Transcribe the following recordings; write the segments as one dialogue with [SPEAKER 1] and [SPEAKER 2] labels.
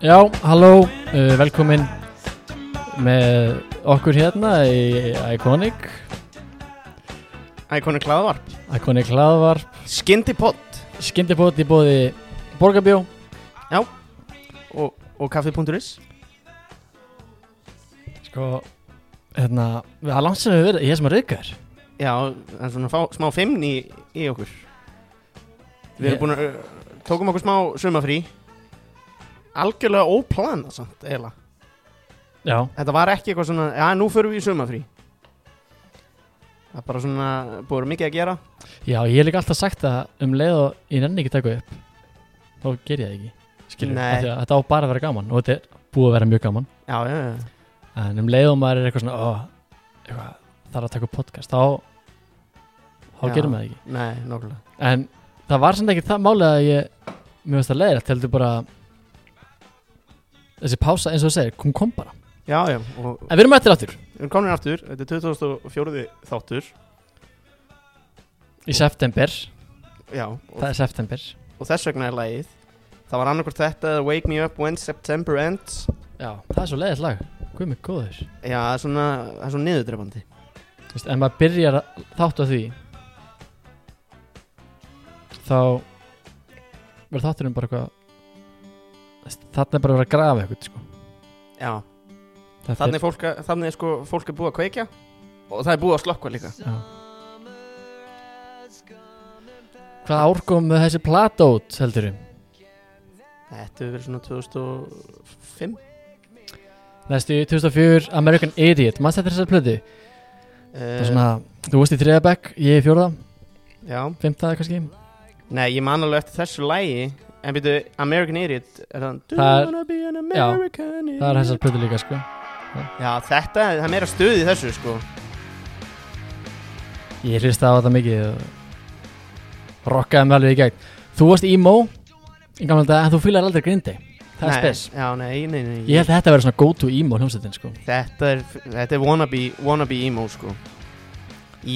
[SPEAKER 1] Já, halló, uh, velkomin með okkur hérna í Iconic,
[SPEAKER 2] Ækonu kláðvarp
[SPEAKER 1] Iconic hlaðvarp,
[SPEAKER 2] Skyndi pott
[SPEAKER 1] skyndibót í bóði Borgabjó,
[SPEAKER 2] og, og kaffi.is
[SPEAKER 1] sko, hérna, við hafa langt sem við verið, ég er sem að rauka þér.
[SPEAKER 2] Já, það er svona fá, smá fimmn í, í okkur Við
[SPEAKER 1] Ég-
[SPEAKER 2] erum búin að uh, Tókum okkur smá sumafrí Algjörlega óplana samt, eiginlega
[SPEAKER 1] Já,
[SPEAKER 2] Þetta var ekki eitthvað svona Já, nú förum við í sumafrí Það er bara svona Búið að vera mikið að gera
[SPEAKER 1] já, ég hef líka alltaf sagt það um leið og ég nenni ekki að taka upp, þá ger ég það ekki, skilur,
[SPEAKER 2] Nei.
[SPEAKER 1] af því að þetta á bara að vera gaman og þetta er búið að vera mjög gaman,
[SPEAKER 2] Já, já, já
[SPEAKER 1] en um leið og maður er eitthvað svona, ó, eitthvað, þarf að taka upp podcast, þá, þá
[SPEAKER 2] Já.
[SPEAKER 1] gerum við það ekki.
[SPEAKER 2] Nei, nokkulega
[SPEAKER 1] En það var samt ekki það málið að ég Mér finnst það leiðilegt, heldur bara Þessi pása eins og þú segir, hún kom bara
[SPEAKER 2] Já, já, og
[SPEAKER 1] En við erum mættir áttur
[SPEAKER 2] við erum komin aftur Þetta er 2004 þáttur
[SPEAKER 1] Í september,
[SPEAKER 2] Já, og
[SPEAKER 1] það er september
[SPEAKER 2] og þess vegna er lagið það var annarkvært þetta eða Wake Me Up When September Ends
[SPEAKER 1] Já, það er svo leiðilegt lag Guð mig góður
[SPEAKER 2] já, það er svona, það er svona niðurdrefandi
[SPEAKER 1] Vist, En maður byrjar að- þátt á því Þá Verður þátturinn bara eitthvað Vist, Þarna er bara að vera að grafa eitthvað sko.
[SPEAKER 2] já,
[SPEAKER 1] Þetta
[SPEAKER 2] þannig er fólk, að- þannig er sko fólk er búið að kveikja og það er búið að slökkva líka
[SPEAKER 1] Já. Hvað árkom þessi plata út, heldurum?
[SPEAKER 2] þetta hefur verið svona 2005
[SPEAKER 1] Næstu í 2004 American Idiot, maður þetta þessar plötu Það
[SPEAKER 2] uh,
[SPEAKER 1] er svona, þú veist í þriða bekk, ég í fjórða,
[SPEAKER 2] já,
[SPEAKER 1] fymta kannski
[SPEAKER 2] nei, ég man alveg eftir þessu lagi en byrju, American Idiot er það, Do
[SPEAKER 1] Það er-
[SPEAKER 2] you wanna be an
[SPEAKER 1] já,
[SPEAKER 2] American
[SPEAKER 1] Það er
[SPEAKER 2] Idiot
[SPEAKER 1] þessar plötu líka sko
[SPEAKER 2] já, þetta, það er meira stuð í þessu sko
[SPEAKER 1] Ég hlusta á þetta mikið og rockaði mig alveg í gegn Þú varst emo í gamla dag, en þú fýlar aldrei grindi Það er
[SPEAKER 2] Nei,
[SPEAKER 1] spes
[SPEAKER 2] já, nei, nei, nei,
[SPEAKER 1] Ég held að þetta verður svona go to emo hljómsveitin sko
[SPEAKER 2] Þetta er, þetta er wannabe, wannabe emo sko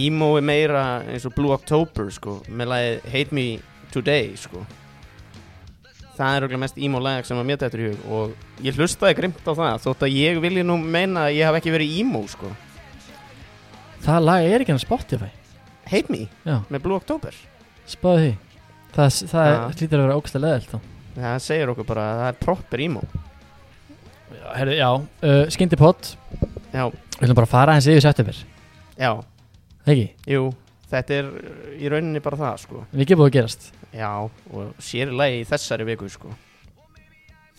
[SPEAKER 2] Emo er meira eins og Blue October sko Með lagið Hate Me Today sko Það er okkur mest emo lag sem að mér þetta í hug Og ég hlustaði grimt á það Þótt að ég vilji nú meina að ég haf ekki verið emo sko
[SPEAKER 1] Það lag er ekki hann Spotify
[SPEAKER 2] Hate Me
[SPEAKER 1] Já,
[SPEAKER 2] með Blue October
[SPEAKER 1] spáði því Það, það ja.
[SPEAKER 2] Já.
[SPEAKER 1] hlýtur að vera ógæslega leðilt þá
[SPEAKER 2] Það segir okkur bara að það er proper emo
[SPEAKER 1] Já, herri, já, uh, skyndipott
[SPEAKER 2] Já,
[SPEAKER 1] Við ætlum bara að fara hans yfir september,
[SPEAKER 2] já,
[SPEAKER 1] ekki?
[SPEAKER 2] jú Þetta er í rauninni bara það sko
[SPEAKER 1] Mikið búið að gerast
[SPEAKER 2] Já, og sér í lagi í þessari viku sko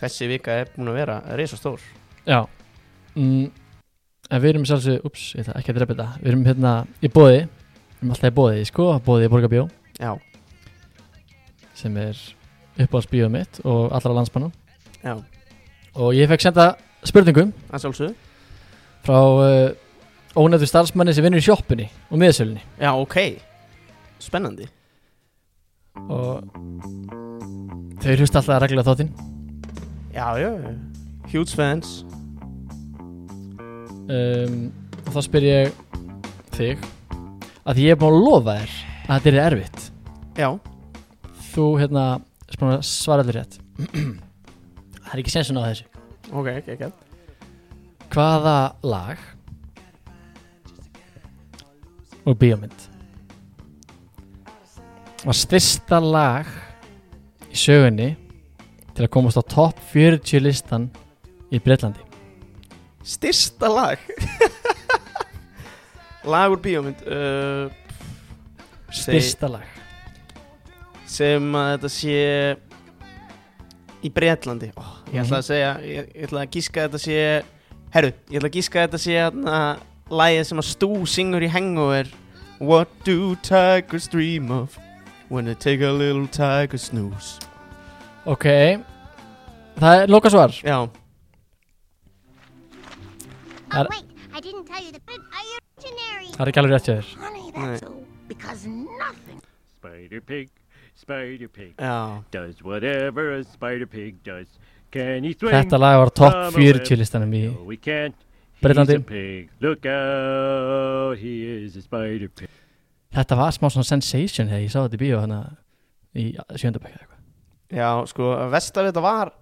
[SPEAKER 2] Þessi vika er búin að vera risastór
[SPEAKER 1] Já mm, En við erum sjálfsög, ups, ég ætla ekki að drepa þetta Við erum hérna í bóði Við erum alltaf í bóði, sko, bóði í Borgabjó
[SPEAKER 2] Já,
[SPEAKER 1] sem er uppáhaldsbíóð mitt og allra landsmanna
[SPEAKER 2] já,
[SPEAKER 1] og ég fekk senda spurningum
[SPEAKER 2] að sjálfsögðu
[SPEAKER 1] frá uh, ónefndu starfsmanni sem vinnur í sjoppunni og miðsölunni
[SPEAKER 2] Já, ok, spennandi
[SPEAKER 1] og þau hlusta alltaf reglulega þáttinn
[SPEAKER 2] Já, já, já Huge fans
[SPEAKER 1] um, og þá spyr ég þig að því ég er búin að lofa þér að þetta er erfitt
[SPEAKER 2] Já,
[SPEAKER 1] þú hérna ert búin að svara allir rétt það er ekki sensun á þessu
[SPEAKER 2] ok, ok, ok
[SPEAKER 1] Hvaða lag og bíómynd var styrsta lag í sögunni til að komast á topp 40 listan í Breitlandi
[SPEAKER 2] Styrsta lag Lag úr bíómynd uh, seg-
[SPEAKER 1] Styrsta lag
[SPEAKER 2] Sem að þetta sé Í Bretlandi Ó, Ég ætla að segja, ég, ég ætla að gíska að þetta sé Herru, ég ætla að gíska að þetta sé hérna Lægið sem að Stú syngur í hangover What do tigers dream of When they take a little tiger snooze
[SPEAKER 1] Ok Það er loka svar
[SPEAKER 2] Já,
[SPEAKER 3] Oh,
[SPEAKER 1] Ar-
[SPEAKER 3] wait, I didn't tell you the big imaginary.
[SPEAKER 1] Það er ekki alveg rétt hjá þér
[SPEAKER 3] Honey,
[SPEAKER 2] Right.
[SPEAKER 3] that's all. Because nothing.
[SPEAKER 4] Spider Pig, Spider Pig
[SPEAKER 2] já,
[SPEAKER 4] does whatever a Spider Pig does. Can he swing?
[SPEAKER 1] Þetta lag var á topp
[SPEAKER 4] Come
[SPEAKER 1] 40
[SPEAKER 4] away.
[SPEAKER 1] listanum í
[SPEAKER 4] No, we can't. He's
[SPEAKER 1] Bretlandi.
[SPEAKER 4] a pig. Look out, he is a Spider Pig.
[SPEAKER 1] Þetta var smá svona sensation þegar ég sá þetta í bíó hana í sjöndabæk
[SPEAKER 2] já, sko Vest af þetta var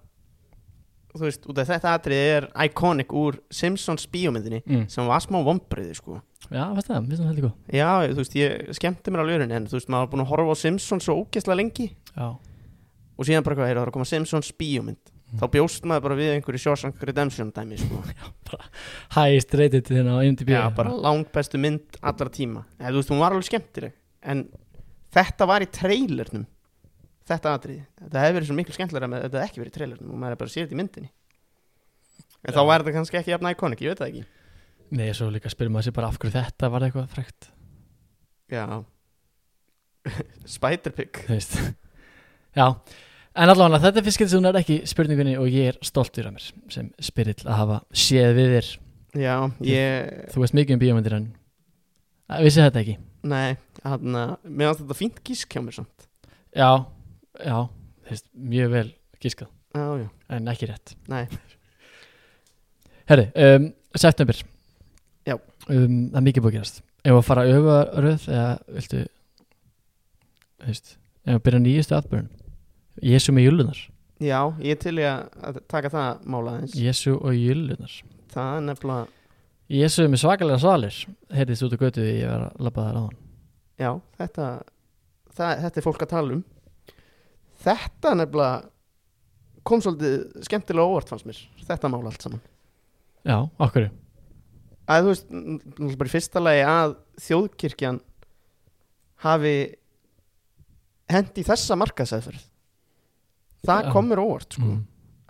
[SPEAKER 2] þú veist, út af þetta atriði er iconic úr Simpsons bíómyndinni
[SPEAKER 1] mm.
[SPEAKER 2] sem var smá vombriði sko
[SPEAKER 1] Já, fannst það, finnst það heldur góð
[SPEAKER 2] Já, þú veist, ég skemmti mér alveg en þú veist, maður var búin að horfa á Simpsons svo ógeðslega lengi
[SPEAKER 1] Já,
[SPEAKER 2] og síðan bara hvað, heyrðu, það er að koma Simpsons bíómynd þá bjóst maður bara við einhverju Shawshank Redemption dæmi sko
[SPEAKER 1] highest rated þinn á IMDb
[SPEAKER 2] Já, bara langbestu mynd allra tíma Eða, Þú veist, hún var alveg skemmtileg En þetta var í trailernum Þetta atriði Þetta hefði verið svo miklu skemmtilega með þetta hefði ekki verið í trailernum og maður er bara að sé þetta í myndinni En þá
[SPEAKER 1] Já.
[SPEAKER 2] var þetta kannski ekki jafn iconic, ég veit það ekki
[SPEAKER 1] Nei, svo líka spyrir maður sér bara af hverju þetta var eitthvað frekt
[SPEAKER 2] Já Spiderpig
[SPEAKER 1] Þú veist Já, en allavega þetta er fiskil sem hún er ekki spurningunni og ég er stoltur af mér sem spyrill að hafa séð við þér
[SPEAKER 2] Já, ég,
[SPEAKER 1] Þú veist mikið um bíómyndir en Æ, vissi þetta ekki
[SPEAKER 2] nei, hann eh, Mér fannst þetta fínt gísk hjá mér samt
[SPEAKER 1] Já, já, þú veist, mjög vel gískað
[SPEAKER 2] Já, já,
[SPEAKER 1] en ekki rétt
[SPEAKER 2] nei,
[SPEAKER 1] Herri, um, september
[SPEAKER 2] Já.
[SPEAKER 1] um, Það er mikið búið að gerast Ef að fara öfaröð eða viltu þú veist, ef að byrja á nýjustu atbyrjun Jésu með júlunar
[SPEAKER 2] já, ég er til í að að taka það mála aðeins
[SPEAKER 1] Jésu og júlunar
[SPEAKER 2] Það er nefnilega,
[SPEAKER 1] Jésu er með svakalega svalir heyrðist út á götu því ég var að labba þar á hann
[SPEAKER 2] Já, þetta það, þetta er fólk að tala um Þetta nefnilega kom svolítið skemmtilega á óvart fannst mér þetta mála allt saman
[SPEAKER 1] Já, okkur
[SPEAKER 2] að þú veist, n- náttúrulega bara í fyrsta lagi að þjóðkirkjan hafi hendi þessa markaðsæðferð það
[SPEAKER 1] Já.
[SPEAKER 2] kom mér á óvart sko.
[SPEAKER 1] mm.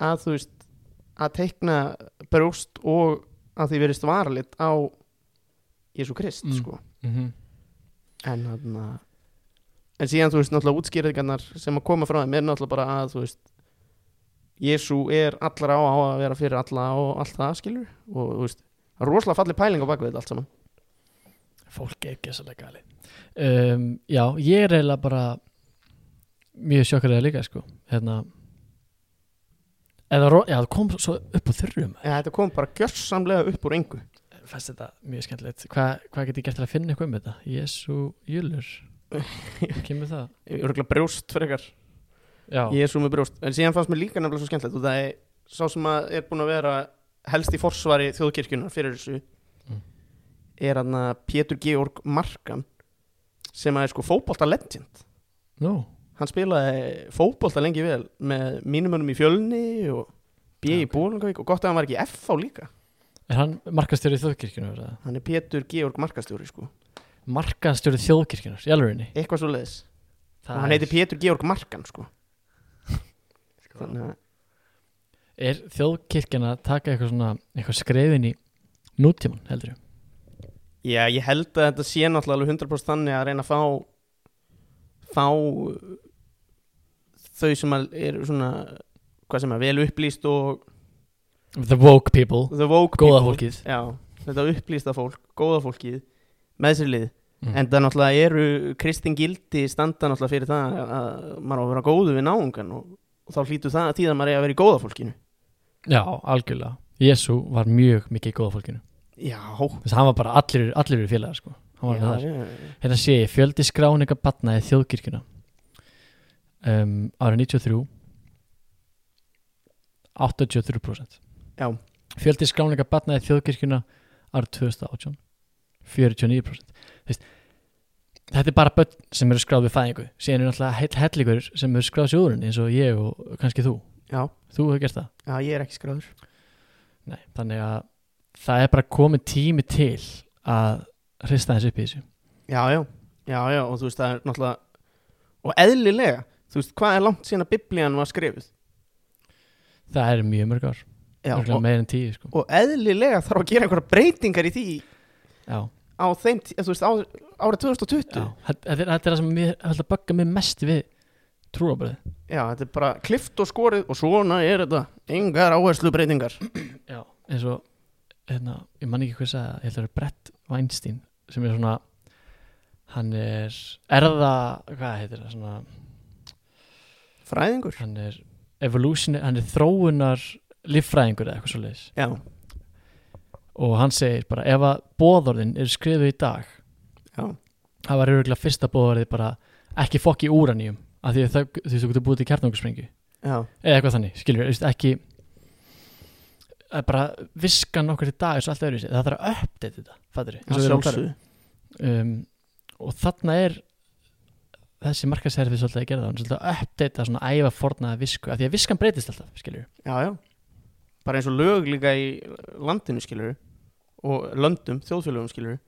[SPEAKER 2] að þú veist að teikna brjóst og að því verist varalit á Jésu Krist
[SPEAKER 1] Mm.
[SPEAKER 2] sko.
[SPEAKER 1] mm -hmm.
[SPEAKER 2] en hann en síðan þú veist náttúrulega útskýringarnar sem að koma frá þeim er náttúrulega bara að þú veist Jésu er allra á á að vera fyrir alla og allt það skilur og þú veist það er rosalega falli pæling á bakvið þetta allt saman
[SPEAKER 1] Fólk er ekki svolítið gali um, Já, ég er eiginlega bara mjög sjokkariða líka sko hérna eða, ro- já, það kom svo upp á þurrum
[SPEAKER 2] en þetta kom bara gjörsamlega upp úr engu
[SPEAKER 1] fannst þetta mjög skemmtilegt Hva, hvað get ég gert til að finna eitthvað um þetta? Jésu Júlur kemur það?
[SPEAKER 2] örgulega brjóst fyrir ykkar
[SPEAKER 1] Já,
[SPEAKER 2] Jésu með brjóst en síðan fannst mér líka nefnilega svo skemmtilegt og það er sá sem að er búin að vera helst í forsvari þjóðkirkjunar fyrir þessu
[SPEAKER 1] Mm.
[SPEAKER 2] er hann að Pétur Georg Markan sem að er sko fótbolta legend
[SPEAKER 1] nú,
[SPEAKER 2] hann spilaði fótbolta lengi vel með mínumönum í fjölni og B í
[SPEAKER 1] Já, ok.
[SPEAKER 2] Bólungavík og gott að hann var ekki í FH líka
[SPEAKER 1] er hann markastjóri þjóðkirkjunar? eða?
[SPEAKER 2] hann er Pétur Georg Markastjóri sko
[SPEAKER 1] Markastjóri þjóðkirkjunar, í alvegurinni
[SPEAKER 2] eitthvað svo leiðis og hann heitir Pétur Georg Markan sko
[SPEAKER 1] Sko.
[SPEAKER 2] þannig að
[SPEAKER 1] Er þjóðkirkjan að taka eitthvað svona eitthvað skrefin í nútíman heldur ég
[SPEAKER 2] já ég held að þetta sé náttúrulega alveg 100% þannig að reyna að fá fá uh, þau sem að eru svona hvað sem að vel upplýst og
[SPEAKER 1] The woke people,
[SPEAKER 2] the woke
[SPEAKER 1] góða
[SPEAKER 2] people.
[SPEAKER 1] fólkið
[SPEAKER 2] Já, þetta upplýsta fólk, góða fólkið með sér lið
[SPEAKER 1] Mm.
[SPEAKER 2] en það náttúrulega eru kristin gildi standa náttúrulega fyrir það að maður á að vera góðu við náungan og, og þá hlýtur það að tíða að maður er að vera í góða fólkinu
[SPEAKER 1] Já, algjörlega Jésu var mjög mikið í góða fólkinu
[SPEAKER 2] Já,
[SPEAKER 1] Þess að hann var bara allir, allir eru félagar sko Hann var
[SPEAKER 2] já,
[SPEAKER 1] með þar
[SPEAKER 2] já,
[SPEAKER 1] Hérna sé ég fjöldi skráninga batnaði þjóðkirkjuna um, Ára 93 83%
[SPEAKER 2] Já.
[SPEAKER 1] Fjöldi skráninga batnaði þjóðkirkjuna ára 2018 49% Þú veist, Þetta er bara börn sem eru skráð við fæðingu Síðan eru náttúrulega heill hellingur sem eru skráð sér úr henni eins og ég og kannski þú
[SPEAKER 2] já,
[SPEAKER 1] Þú hefur gert það
[SPEAKER 2] já, ég er ekki skráður
[SPEAKER 1] Nei, Þannig að það er bara komið tími til að hrista þessu upp í þessu
[SPEAKER 2] Já, já, já, já, og þú veist það er náttúrulega og eðlilega, þú veist hvað er langt síðan að biblían var skrifuð
[SPEAKER 1] Það er mjög mörg ár,
[SPEAKER 2] já,
[SPEAKER 1] örgulega
[SPEAKER 2] og,
[SPEAKER 1] meir en tíu sko.
[SPEAKER 2] og eðlilega þarf að gera einhverja breytingar í því
[SPEAKER 1] Já,
[SPEAKER 2] á þeim, tí- þú veist, á, ára 2020
[SPEAKER 1] já. Þetta þetta er þetta er það sem mér, þetta böggar mér mest við trúabröð
[SPEAKER 2] Já, þetta er bara klift og skorið og svona er þetta, engar áherslu breytingar
[SPEAKER 1] Já, eins og hérna, ég man ekki hvað sagði, það, ég held að það er Brett Weinstein sem er svona hann er erða hvað heitir það, svona
[SPEAKER 2] Fræðingur
[SPEAKER 1] hann er evolution, hann er þróunar líffræðingur eða eitthvað svo leiðis
[SPEAKER 2] Já,
[SPEAKER 1] og hann segir bara ef að bóðorðin eru skrifuð í dag
[SPEAKER 2] já,
[SPEAKER 1] það var örgulega fyrsta bóðorðið bara ekki fokki úraníum af því að þau, þú veist, þú getur búið til kjarnungusprengju
[SPEAKER 2] já,
[SPEAKER 1] eða eitthvað þannig, skilur, veist, ekki að bara viskan okkur í dag er svo allt öðru það þarf að uppdate þetta, fattur
[SPEAKER 2] að sjálfsögðu
[SPEAKER 1] um, og þarna er þessi markaserfið svolítið að gera það, hún er svolítið að uppdata svona æfa fornaða visku, af því að viskan breytist alltaf skilur,
[SPEAKER 2] Já, já Bara eins og lög líka í landinu skilur og löndum, þjóðfélögum skilur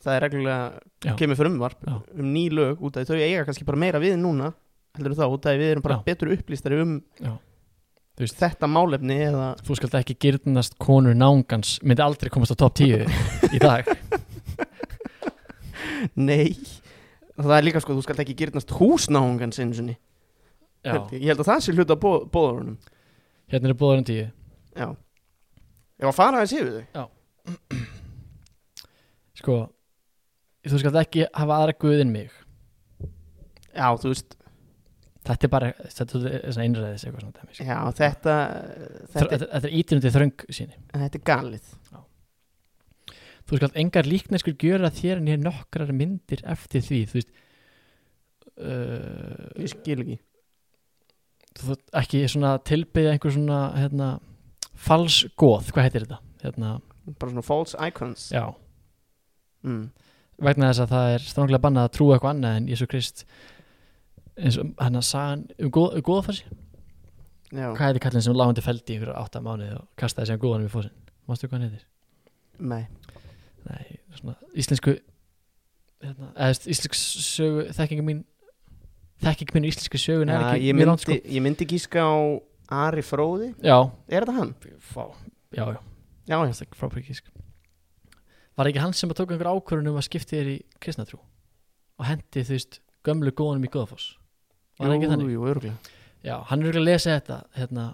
[SPEAKER 2] það er reglulega,
[SPEAKER 1] Já.
[SPEAKER 2] kemur fyrir umvarp
[SPEAKER 1] Já.
[SPEAKER 2] um ný lög út af því þau eiga kannski bara meira við núna heldur þá út af því við erum bara
[SPEAKER 1] Já.
[SPEAKER 2] betur upplýstari um
[SPEAKER 1] Já. Þú veist-
[SPEAKER 2] þetta málefni eða
[SPEAKER 1] þú skalt ekki gyrnast konur nángans, myndi aldrei komast á top 10 í dag,
[SPEAKER 2] nei það er líka sko, þú skalt ekki gyrnast húsnáungan sinni
[SPEAKER 1] já,
[SPEAKER 2] held ég. ég held að það sé hluta bóðarunum
[SPEAKER 1] hérna er búðarinn 10
[SPEAKER 2] Já Ég var að fara aðeins yfir þau
[SPEAKER 1] sko, þú skalt ekki hafa aðra guð en mig,
[SPEAKER 2] Já, þú veist, þetta,
[SPEAKER 1] þetta er bara þetta er svona einræðis eitthvað svona dæmis.
[SPEAKER 2] já, þetta,
[SPEAKER 1] Þr-
[SPEAKER 2] þetta,
[SPEAKER 1] þetta, þetta er ítinundi þröng síni
[SPEAKER 2] þetta er galið
[SPEAKER 1] þú skalt engar líkneskur gjöra þér en ég nokkrar myndir eftir því þú veist uh,
[SPEAKER 2] Ég skil ekki
[SPEAKER 1] þú þarft ekki svona tilbyggja einhver svona hérna, falsgóð, hvað heitir þetta? Hérna,
[SPEAKER 2] bara svona false icons
[SPEAKER 1] já,
[SPEAKER 2] mm.
[SPEAKER 1] vegna þess að það er stránglega bannað að trúa eitthvað annað en Jésu Krist eins og hann að sagan um, góð, um góðfarsi,
[SPEAKER 2] já,
[SPEAKER 1] hvað heitir kallinn sem lágandi feldi í ykkur átta mánuði og kastaði sem góðanum í fósinn, mástu hvað hann heitir?
[SPEAKER 2] nei
[SPEAKER 1] Nei, svona íslensku hérna, eða þú veist, íslensk sögu þekkinga mín þekkinga mín í íslensku sögun er
[SPEAKER 2] ja,
[SPEAKER 1] ekki
[SPEAKER 2] ég,
[SPEAKER 1] mjög
[SPEAKER 2] myndi,
[SPEAKER 1] langt, sko.
[SPEAKER 2] ég myndi gíska á Ari Fróði,
[SPEAKER 1] Já,
[SPEAKER 2] er þetta hann?
[SPEAKER 1] fá, já, já,
[SPEAKER 2] Já, já,
[SPEAKER 1] það er frábæri kísk Var ekki hann sem að tók einhver ákvörun um að skipti þér í kristnatrú og hendi þú veist gömlu góðunum í Guðafoss Var það ekki þannig?
[SPEAKER 2] jú, örgulega
[SPEAKER 1] Já, hann er ekki að lesa þetta hérna,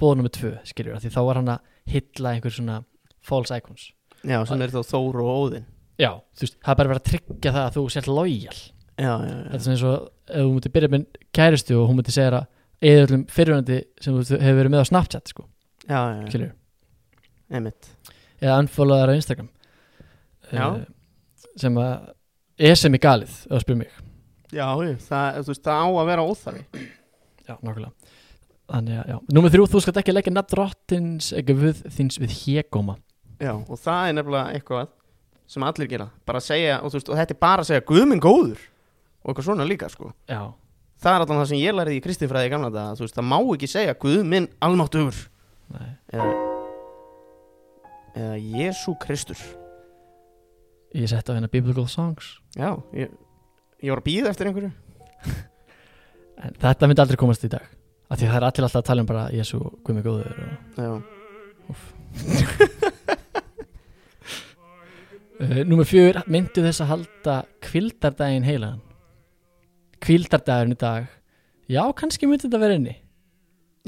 [SPEAKER 1] bóð nummer tvö, skiljur því þá var hann að hylla einhver svona false icons
[SPEAKER 2] Já, sem er þá Þór og Óðinn
[SPEAKER 1] Já, þú veist, það er bara verið að tryggja það að þú sért lojal
[SPEAKER 2] Já, já,
[SPEAKER 1] Þetta
[SPEAKER 2] já,
[SPEAKER 1] er svona eins og ef þú mútið byrja með kæristu og hún mútið segja að eða öllum fyrirvöndi sem þú hefur verið með á Snapchat sko,
[SPEAKER 2] já, já, já.
[SPEAKER 1] skiljur
[SPEAKER 2] einmitt
[SPEAKER 1] eða unfollowðar á Instagram
[SPEAKER 2] Já.
[SPEAKER 1] Eh, sem að er sem í galið ef þú spyrir mig
[SPEAKER 2] Já, já, það, þú veist, það á að vera óþarfi
[SPEAKER 1] já, nákvæmlega þannig að, já, númer þrjú, þú skalt ekki leggja nafn drottins ekki við þins við hégóma
[SPEAKER 2] Já, og það er nefnilega eitthvað sem allir gera, bara að segja og, þú veist, og þetta er bara að segja, guð minn góður og eitthvað svona líka, sko
[SPEAKER 1] já,
[SPEAKER 2] Það er allan það sem ég lærði í kristinfræði í gamla dag þú veist, það má ekki segja, guð minn almáttugur
[SPEAKER 1] nei,
[SPEAKER 2] eða, eða Jésu Kristur
[SPEAKER 1] ég setti á hérna biblical songs
[SPEAKER 2] Já, ég, ég var að býða eftir einhverju
[SPEAKER 1] en þetta myndi aldrei komast í dag af því það er allir alltaf að tala um bara Jésu, Guðmi Góður og
[SPEAKER 2] Já,
[SPEAKER 1] Uh, númer fjögur, myndu þess að halda kvildardaginn heilaðan Kvildardagurinn í dag Já, kannski myndi þetta vera inni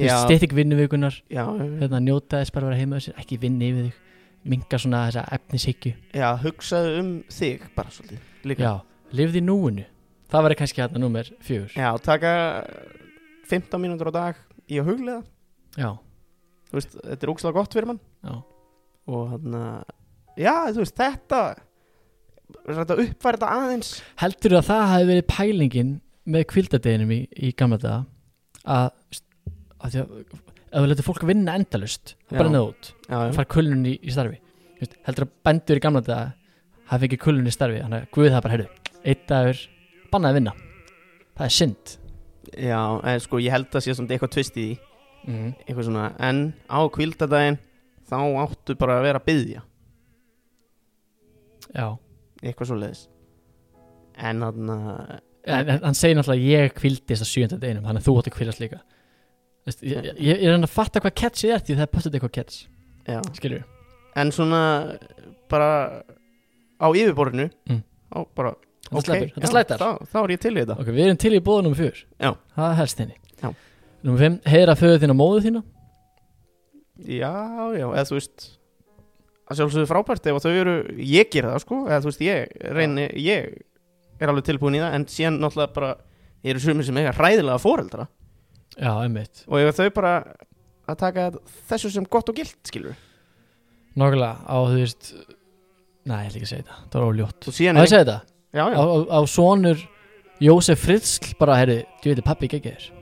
[SPEAKER 2] já,
[SPEAKER 1] Stýtt ekki vinnuvikunar
[SPEAKER 2] já,
[SPEAKER 1] hérna, Njóta þess bara að vera heima þessir Ekki vinni yfir þig Minga svona þessa efnishyggju
[SPEAKER 2] já, hugsaðu um þig bara svolítið líka.
[SPEAKER 1] Já, lifði í núinu Það væri kannski hérna númer fjögur
[SPEAKER 2] Já, taka 15 mínútur á dag í að huglega
[SPEAKER 1] Já,
[SPEAKER 2] Þú veist, þetta er ógslag gott fyrir mann
[SPEAKER 1] já,
[SPEAKER 2] Og hann já, þú veist, þetta Þetta uppfæra þetta aðeins
[SPEAKER 1] Heldur að það hafi verið pælingin Með kvildardeginum í, í gamla daga Að, að, því að Ef þú letur fólk vinna endalust
[SPEAKER 2] Já.
[SPEAKER 1] Bara neða út
[SPEAKER 2] Já, já,
[SPEAKER 1] fara kulnun í, í starfi Þú veist, heldur að bendur í gamla daga hafi ekki kulnun í starfi þannig að guð það bara heyrðu einn dagur bannaði að vinna það er synd
[SPEAKER 2] já en sko, ég held að sé samt eitthvað tvist í því
[SPEAKER 1] mm.
[SPEAKER 2] Eitthvað svona, en á kvildadaginn Þá áttu bara að vera að byggja
[SPEAKER 1] já
[SPEAKER 2] Eitthvað svo leiðis En hann
[SPEAKER 1] en, en hann segir náttúrulega að ég kvildist á sjönda deginum þannig að þú átti að kvildast líka Þú veist, ég, ég, ég er hann að fatta hvað catchið er því það er pöttuð eitthvað catch
[SPEAKER 2] Já
[SPEAKER 1] skilur
[SPEAKER 2] en svona bara á yfirborðinu
[SPEAKER 1] Mm.
[SPEAKER 2] á bara
[SPEAKER 1] Þetta
[SPEAKER 2] ok,
[SPEAKER 1] sleppur, þetta
[SPEAKER 2] já,
[SPEAKER 1] slætar.
[SPEAKER 2] þá, þá er ég til í þetta
[SPEAKER 1] ok, við erum til í bóða nummer fjör
[SPEAKER 2] Já.
[SPEAKER 1] það er helst henni
[SPEAKER 2] Já.
[SPEAKER 1] nummer fimm heyra föðu þín og móðu þína
[SPEAKER 2] já, já, eða þú veist að sjálfsögðu frábært ef að þau eru ég gera það sko, eða þú veist ég reyni, ég er alveg tilbúin í það en síðan náttúrulega bara eru sumir sem eiga ræðilega foreldra
[SPEAKER 1] já, einmitt
[SPEAKER 2] og ef þau bara að taka þessu sem gott og gilt skilur
[SPEAKER 1] nokkulega á þú veist næ, ég ætla ekki að segja þetta það var óljótt
[SPEAKER 2] og síðan
[SPEAKER 1] að ég
[SPEAKER 2] er,
[SPEAKER 1] segja þetta
[SPEAKER 2] já, já,
[SPEAKER 1] á, á, á sonur Jósef Fritzl bara, herri, þú veitir pappi ekki ekki þér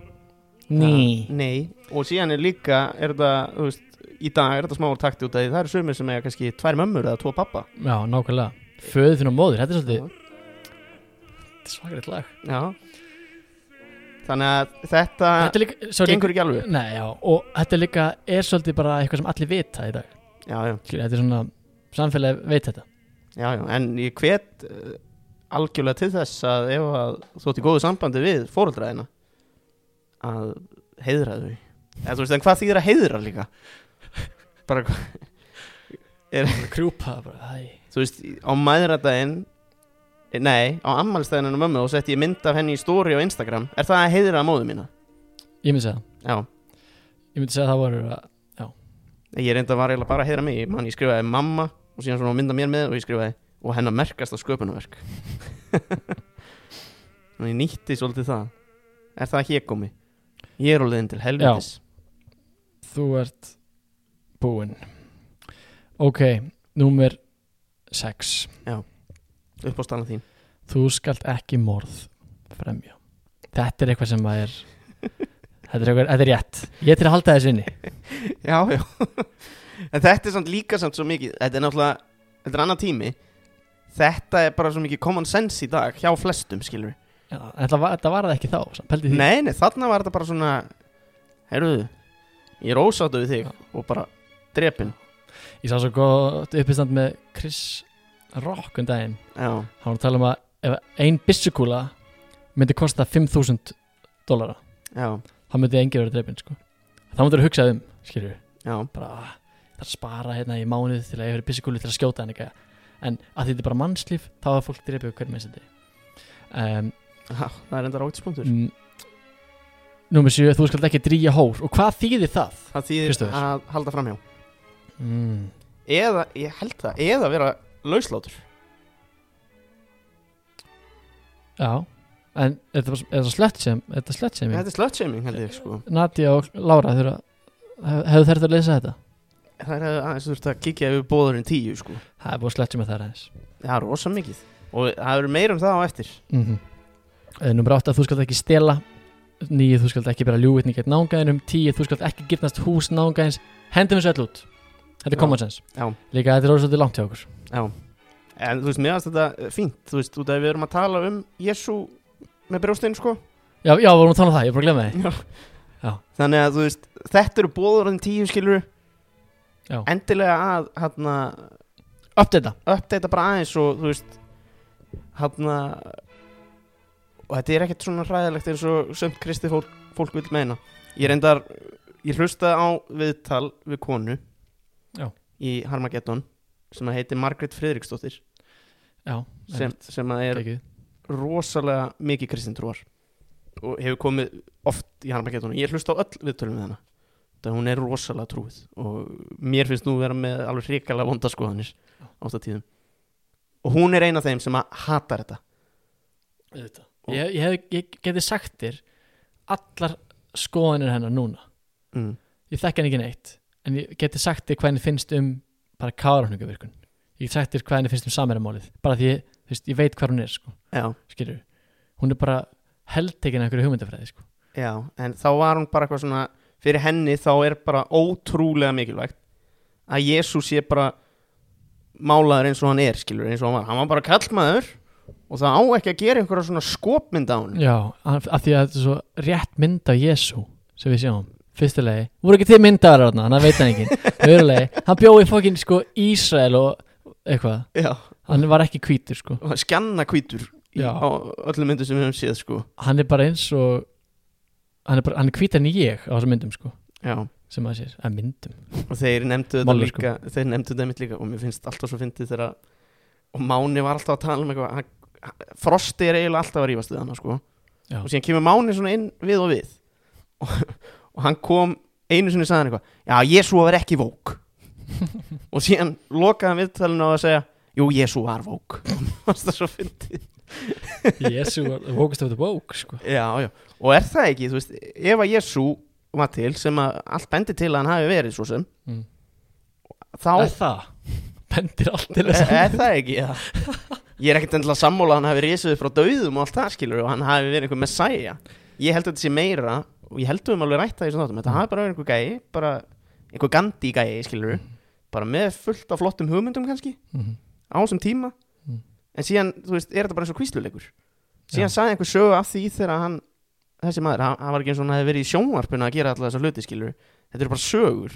[SPEAKER 1] Ný
[SPEAKER 2] nei og síðan er líka er það, þú veist í dag er þetta smáur takti út af því það eru sumir sem eiga kannski tvær mömmur eða tvo pappa
[SPEAKER 1] Já, nákvæmlega Föðu þinn og móður, þetta er svolítið Þetta er svakaritt lag
[SPEAKER 2] já þannig að þetta
[SPEAKER 1] Þetta er líka svo líka-
[SPEAKER 2] Ah, gengur ekki alveg upp.
[SPEAKER 1] Nei, já, og þetta er líka er svolítið bara eitthvað sem allir vita í dag
[SPEAKER 2] já, já,
[SPEAKER 1] Skilur, Þetta er svona, samfélagi veit þetta
[SPEAKER 2] já, já, en ég hvet eh, algjörlega til þess að ef að þú ert í góðu sambandi við fóröldraðina að heiðra þau eða þú veist, en hvað þýðir að heiðra líka bara hvað
[SPEAKER 1] Krjúpa, bara, æ
[SPEAKER 2] þú veist, á maðuradaginn nei, á ammálstæðinu og mömmu og setti ég mynd af henni í story á Instagram er það að heiðra móðu mína?
[SPEAKER 1] Ég myndi segja, það.
[SPEAKER 2] Já,
[SPEAKER 1] ég myndi segja að það voru að-
[SPEAKER 2] ég reynda var eiginlega bara að heiðra mig ég, man, ég skrifaði mamma og síðan svona mynda mér með og ég skrifaði og hennar merkast á sköpunarverk og ég nýtti svolítið það er það ekki ég komi? Ég er á leiðin til helvitis
[SPEAKER 1] þú ert búinn Ok, númer 6
[SPEAKER 2] upp á stana þín
[SPEAKER 1] Þú skalt ekki morð fremja Þetta er eitthvað sem að er Þetta er, eitthvað, þetta er rétt Ég er til að halda þessu inni
[SPEAKER 2] Já, já En þetta er samt líka samt svo mikið Þetta er náttúrulega, þetta er annar tími Þetta er bara svo mikið common sense í dag hjá flestum, skilur
[SPEAKER 1] Já, Þetta var, þetta var það ekki þá samt, pældu í því.
[SPEAKER 2] Nei, nei, þarna var þetta bara svona Heyrðu, ég er ósáttu við þig
[SPEAKER 1] Já.
[SPEAKER 2] Og bara drepin
[SPEAKER 1] Ég sá svo gott uppistand með Chris Rock um daginn
[SPEAKER 2] Já,
[SPEAKER 1] Hann var að tala um að ef ein byssukúla myndi kosta 5.000 dólara
[SPEAKER 2] já,
[SPEAKER 1] þá myndi engir vera dreipin sko. þá myndi þú hugsa um skilur
[SPEAKER 2] já,
[SPEAKER 1] bara ah, það er að spara hérna í mánuð til að ég verið byssukúlu til að skjóta hann ekki en að þetta er bara mannslíf þá er fólk dreipið hver með þessi um,
[SPEAKER 2] já Það er enda ráttspunktur
[SPEAKER 1] mm, Númer 7 þú skalt ekki dríja hór og hvað þýðir það?
[SPEAKER 2] Það þýðir
[SPEAKER 1] Kristófer.
[SPEAKER 2] að halda framhjá
[SPEAKER 1] Mm.
[SPEAKER 2] Eða, ég held það, eða vera lauslátur
[SPEAKER 1] Já en er þetta bara- er þetta slett sem er þetta slett sem ég
[SPEAKER 2] Þetta er slutshaming held ég sko
[SPEAKER 1] Nadia og Lára þurfa hef- hefðu þær þetta að lesa þetta?
[SPEAKER 2] Það er aðeins þurft að kíkja yfir bóðurinn tíu sko
[SPEAKER 1] Það er búið að slett sem að það er aðeins
[SPEAKER 2] Það er rosa mikið Og það eru meira um það á eftir
[SPEAKER 1] mm Númer 8 þú skalt ekki stela 9 þú skalt ekki hérna bera ljúvitni gett náungaðinum 10 þú skalt ekki giftast hús náungaðins hendum þessu öll út þetta
[SPEAKER 2] Já.
[SPEAKER 1] er common sense
[SPEAKER 2] Já.
[SPEAKER 1] líka þetta er orðsvöldi langt hjá okkur
[SPEAKER 2] En þú veist, mér finnst þetta eh, fínt Þú veist, út af við erum að tala um Jésu með brjóstinn sko
[SPEAKER 1] já, já, vorum að tala um það, ég er bara að glemma því
[SPEAKER 2] Já.
[SPEAKER 1] Já.
[SPEAKER 2] Þannig að þú veist, þetta eru bóðurinn tíu skilur
[SPEAKER 1] Já.
[SPEAKER 2] Endilega að hérna,
[SPEAKER 1] uppdata,
[SPEAKER 2] uppdata bara aðeins og þú veist hérna og þetta er ekkert svona hræðilegt eins og sömt kristi fólk, fólk vil meina Ég reyndar, ég hlusta á viðtal við konu
[SPEAKER 1] Já.
[SPEAKER 2] í Harmageddon sem að heiti Margrét Friðriksdóttir
[SPEAKER 1] já,
[SPEAKER 2] sem, sem að er
[SPEAKER 1] ekki
[SPEAKER 2] rosalega mikið kristindrúar og hefur komið oft í harmaketunum ég hlusta á öll viðtölum við hana það hún er rosalega trúið og mér finnst nú vera með alveg hrikalega vonda skoðanir átt að tíðum og hún er ein af þeim sem að hatar þetta
[SPEAKER 1] ég, ég, hef, ég geti sagt þér allar skoðanir hennar núna
[SPEAKER 2] mm.
[SPEAKER 1] ég þekki hann ekki neitt en ég geti sagt þér hvað henni finnst um bara kárhungavirkun ég geti sagt þér hvað henni finnst um sameramálið bara því ég, þú veist, ég veit hvað hún er sko.
[SPEAKER 2] já,
[SPEAKER 1] skilur hún er bara heldtekin af einhverju hugmyndafræði sko.
[SPEAKER 2] já, en þá var hún bara eitthvað svona fyrir henni þá er bara ótrúlega mikilvægt að Jésús sé bara málaður eins og hann er skilur eins og hann var, hann var bara kallmaður og það á ekki að gera einhverja svona skopmynd á hann
[SPEAKER 1] já, af af því að þetta er svo rétt mynd af Jésu sem við sjáum fyrstulegi, voru ekki til myndaðar þarna hann veit hann ekki, öðrulegi hann bjóði fokkin sko Ísrael og eitthvað,
[SPEAKER 2] já,
[SPEAKER 1] hann var ekki hvítur sko
[SPEAKER 2] og skjanna hvítur í,
[SPEAKER 1] Já.
[SPEAKER 2] á öllum myndum sem við höfum séð sko
[SPEAKER 1] hann er bara eins og hann er, bara, hann er hvítar en ég á þessum myndum sko
[SPEAKER 2] já.
[SPEAKER 1] sem maður sér, að myndum
[SPEAKER 2] og þeir nefndu þetta
[SPEAKER 1] Mállýsku.
[SPEAKER 2] líka þeir nefndu þetta mitt líka og mér finnst alltaf svo fyndið þegar að- og Máni var alltaf að tala um eitthvað hann, Frosti er eiginlega alltaf að rífast við hana sko
[SPEAKER 1] Já.
[SPEAKER 2] og síðan kemur Máni svona inn við og við og, og hann kom einu sinni sagði hann eitthvað já, Jésu var ekki vók og síðan lokaði hann viðtalinu á að segja jú, Jésu var vók Fannst það svo fyndið
[SPEAKER 1] Jésu var Walkest of the Woke sko
[SPEAKER 2] Já, já, og er það ekki, þú veist, ef að Jésu var til sem að allt bendir til að hann hafi verið svo sem
[SPEAKER 1] Mm.
[SPEAKER 2] þá
[SPEAKER 1] er
[SPEAKER 2] er,
[SPEAKER 1] það, bendir allt til þess að
[SPEAKER 2] er það ekki, já Ég er ekkert endilega sammála að hann hafi risið upp frá dauðum og allt það skilur og hann hafi verið einhver messiah Ég held að þetta sé meira og ég held að við höfum alveg rætt það í þessum þáttum, þetta hafi bara verið einhver gæi, bara einhver Gandhi gæi, skilur bara með fullt af flottum hugmyndum kannski
[SPEAKER 1] Mhm.
[SPEAKER 2] á þessum tíma
[SPEAKER 1] Mm.
[SPEAKER 2] en síðan, þú veist, er þetta bara eins og kvísluleikur síðan
[SPEAKER 1] Já.
[SPEAKER 2] sagði einhver sögu af því þegar hann þessi maður, hann, hann var ekki eins og hann hefði verið í sjónvarpinu að gera alla þessa hluti, skilur þetta eru bara sögur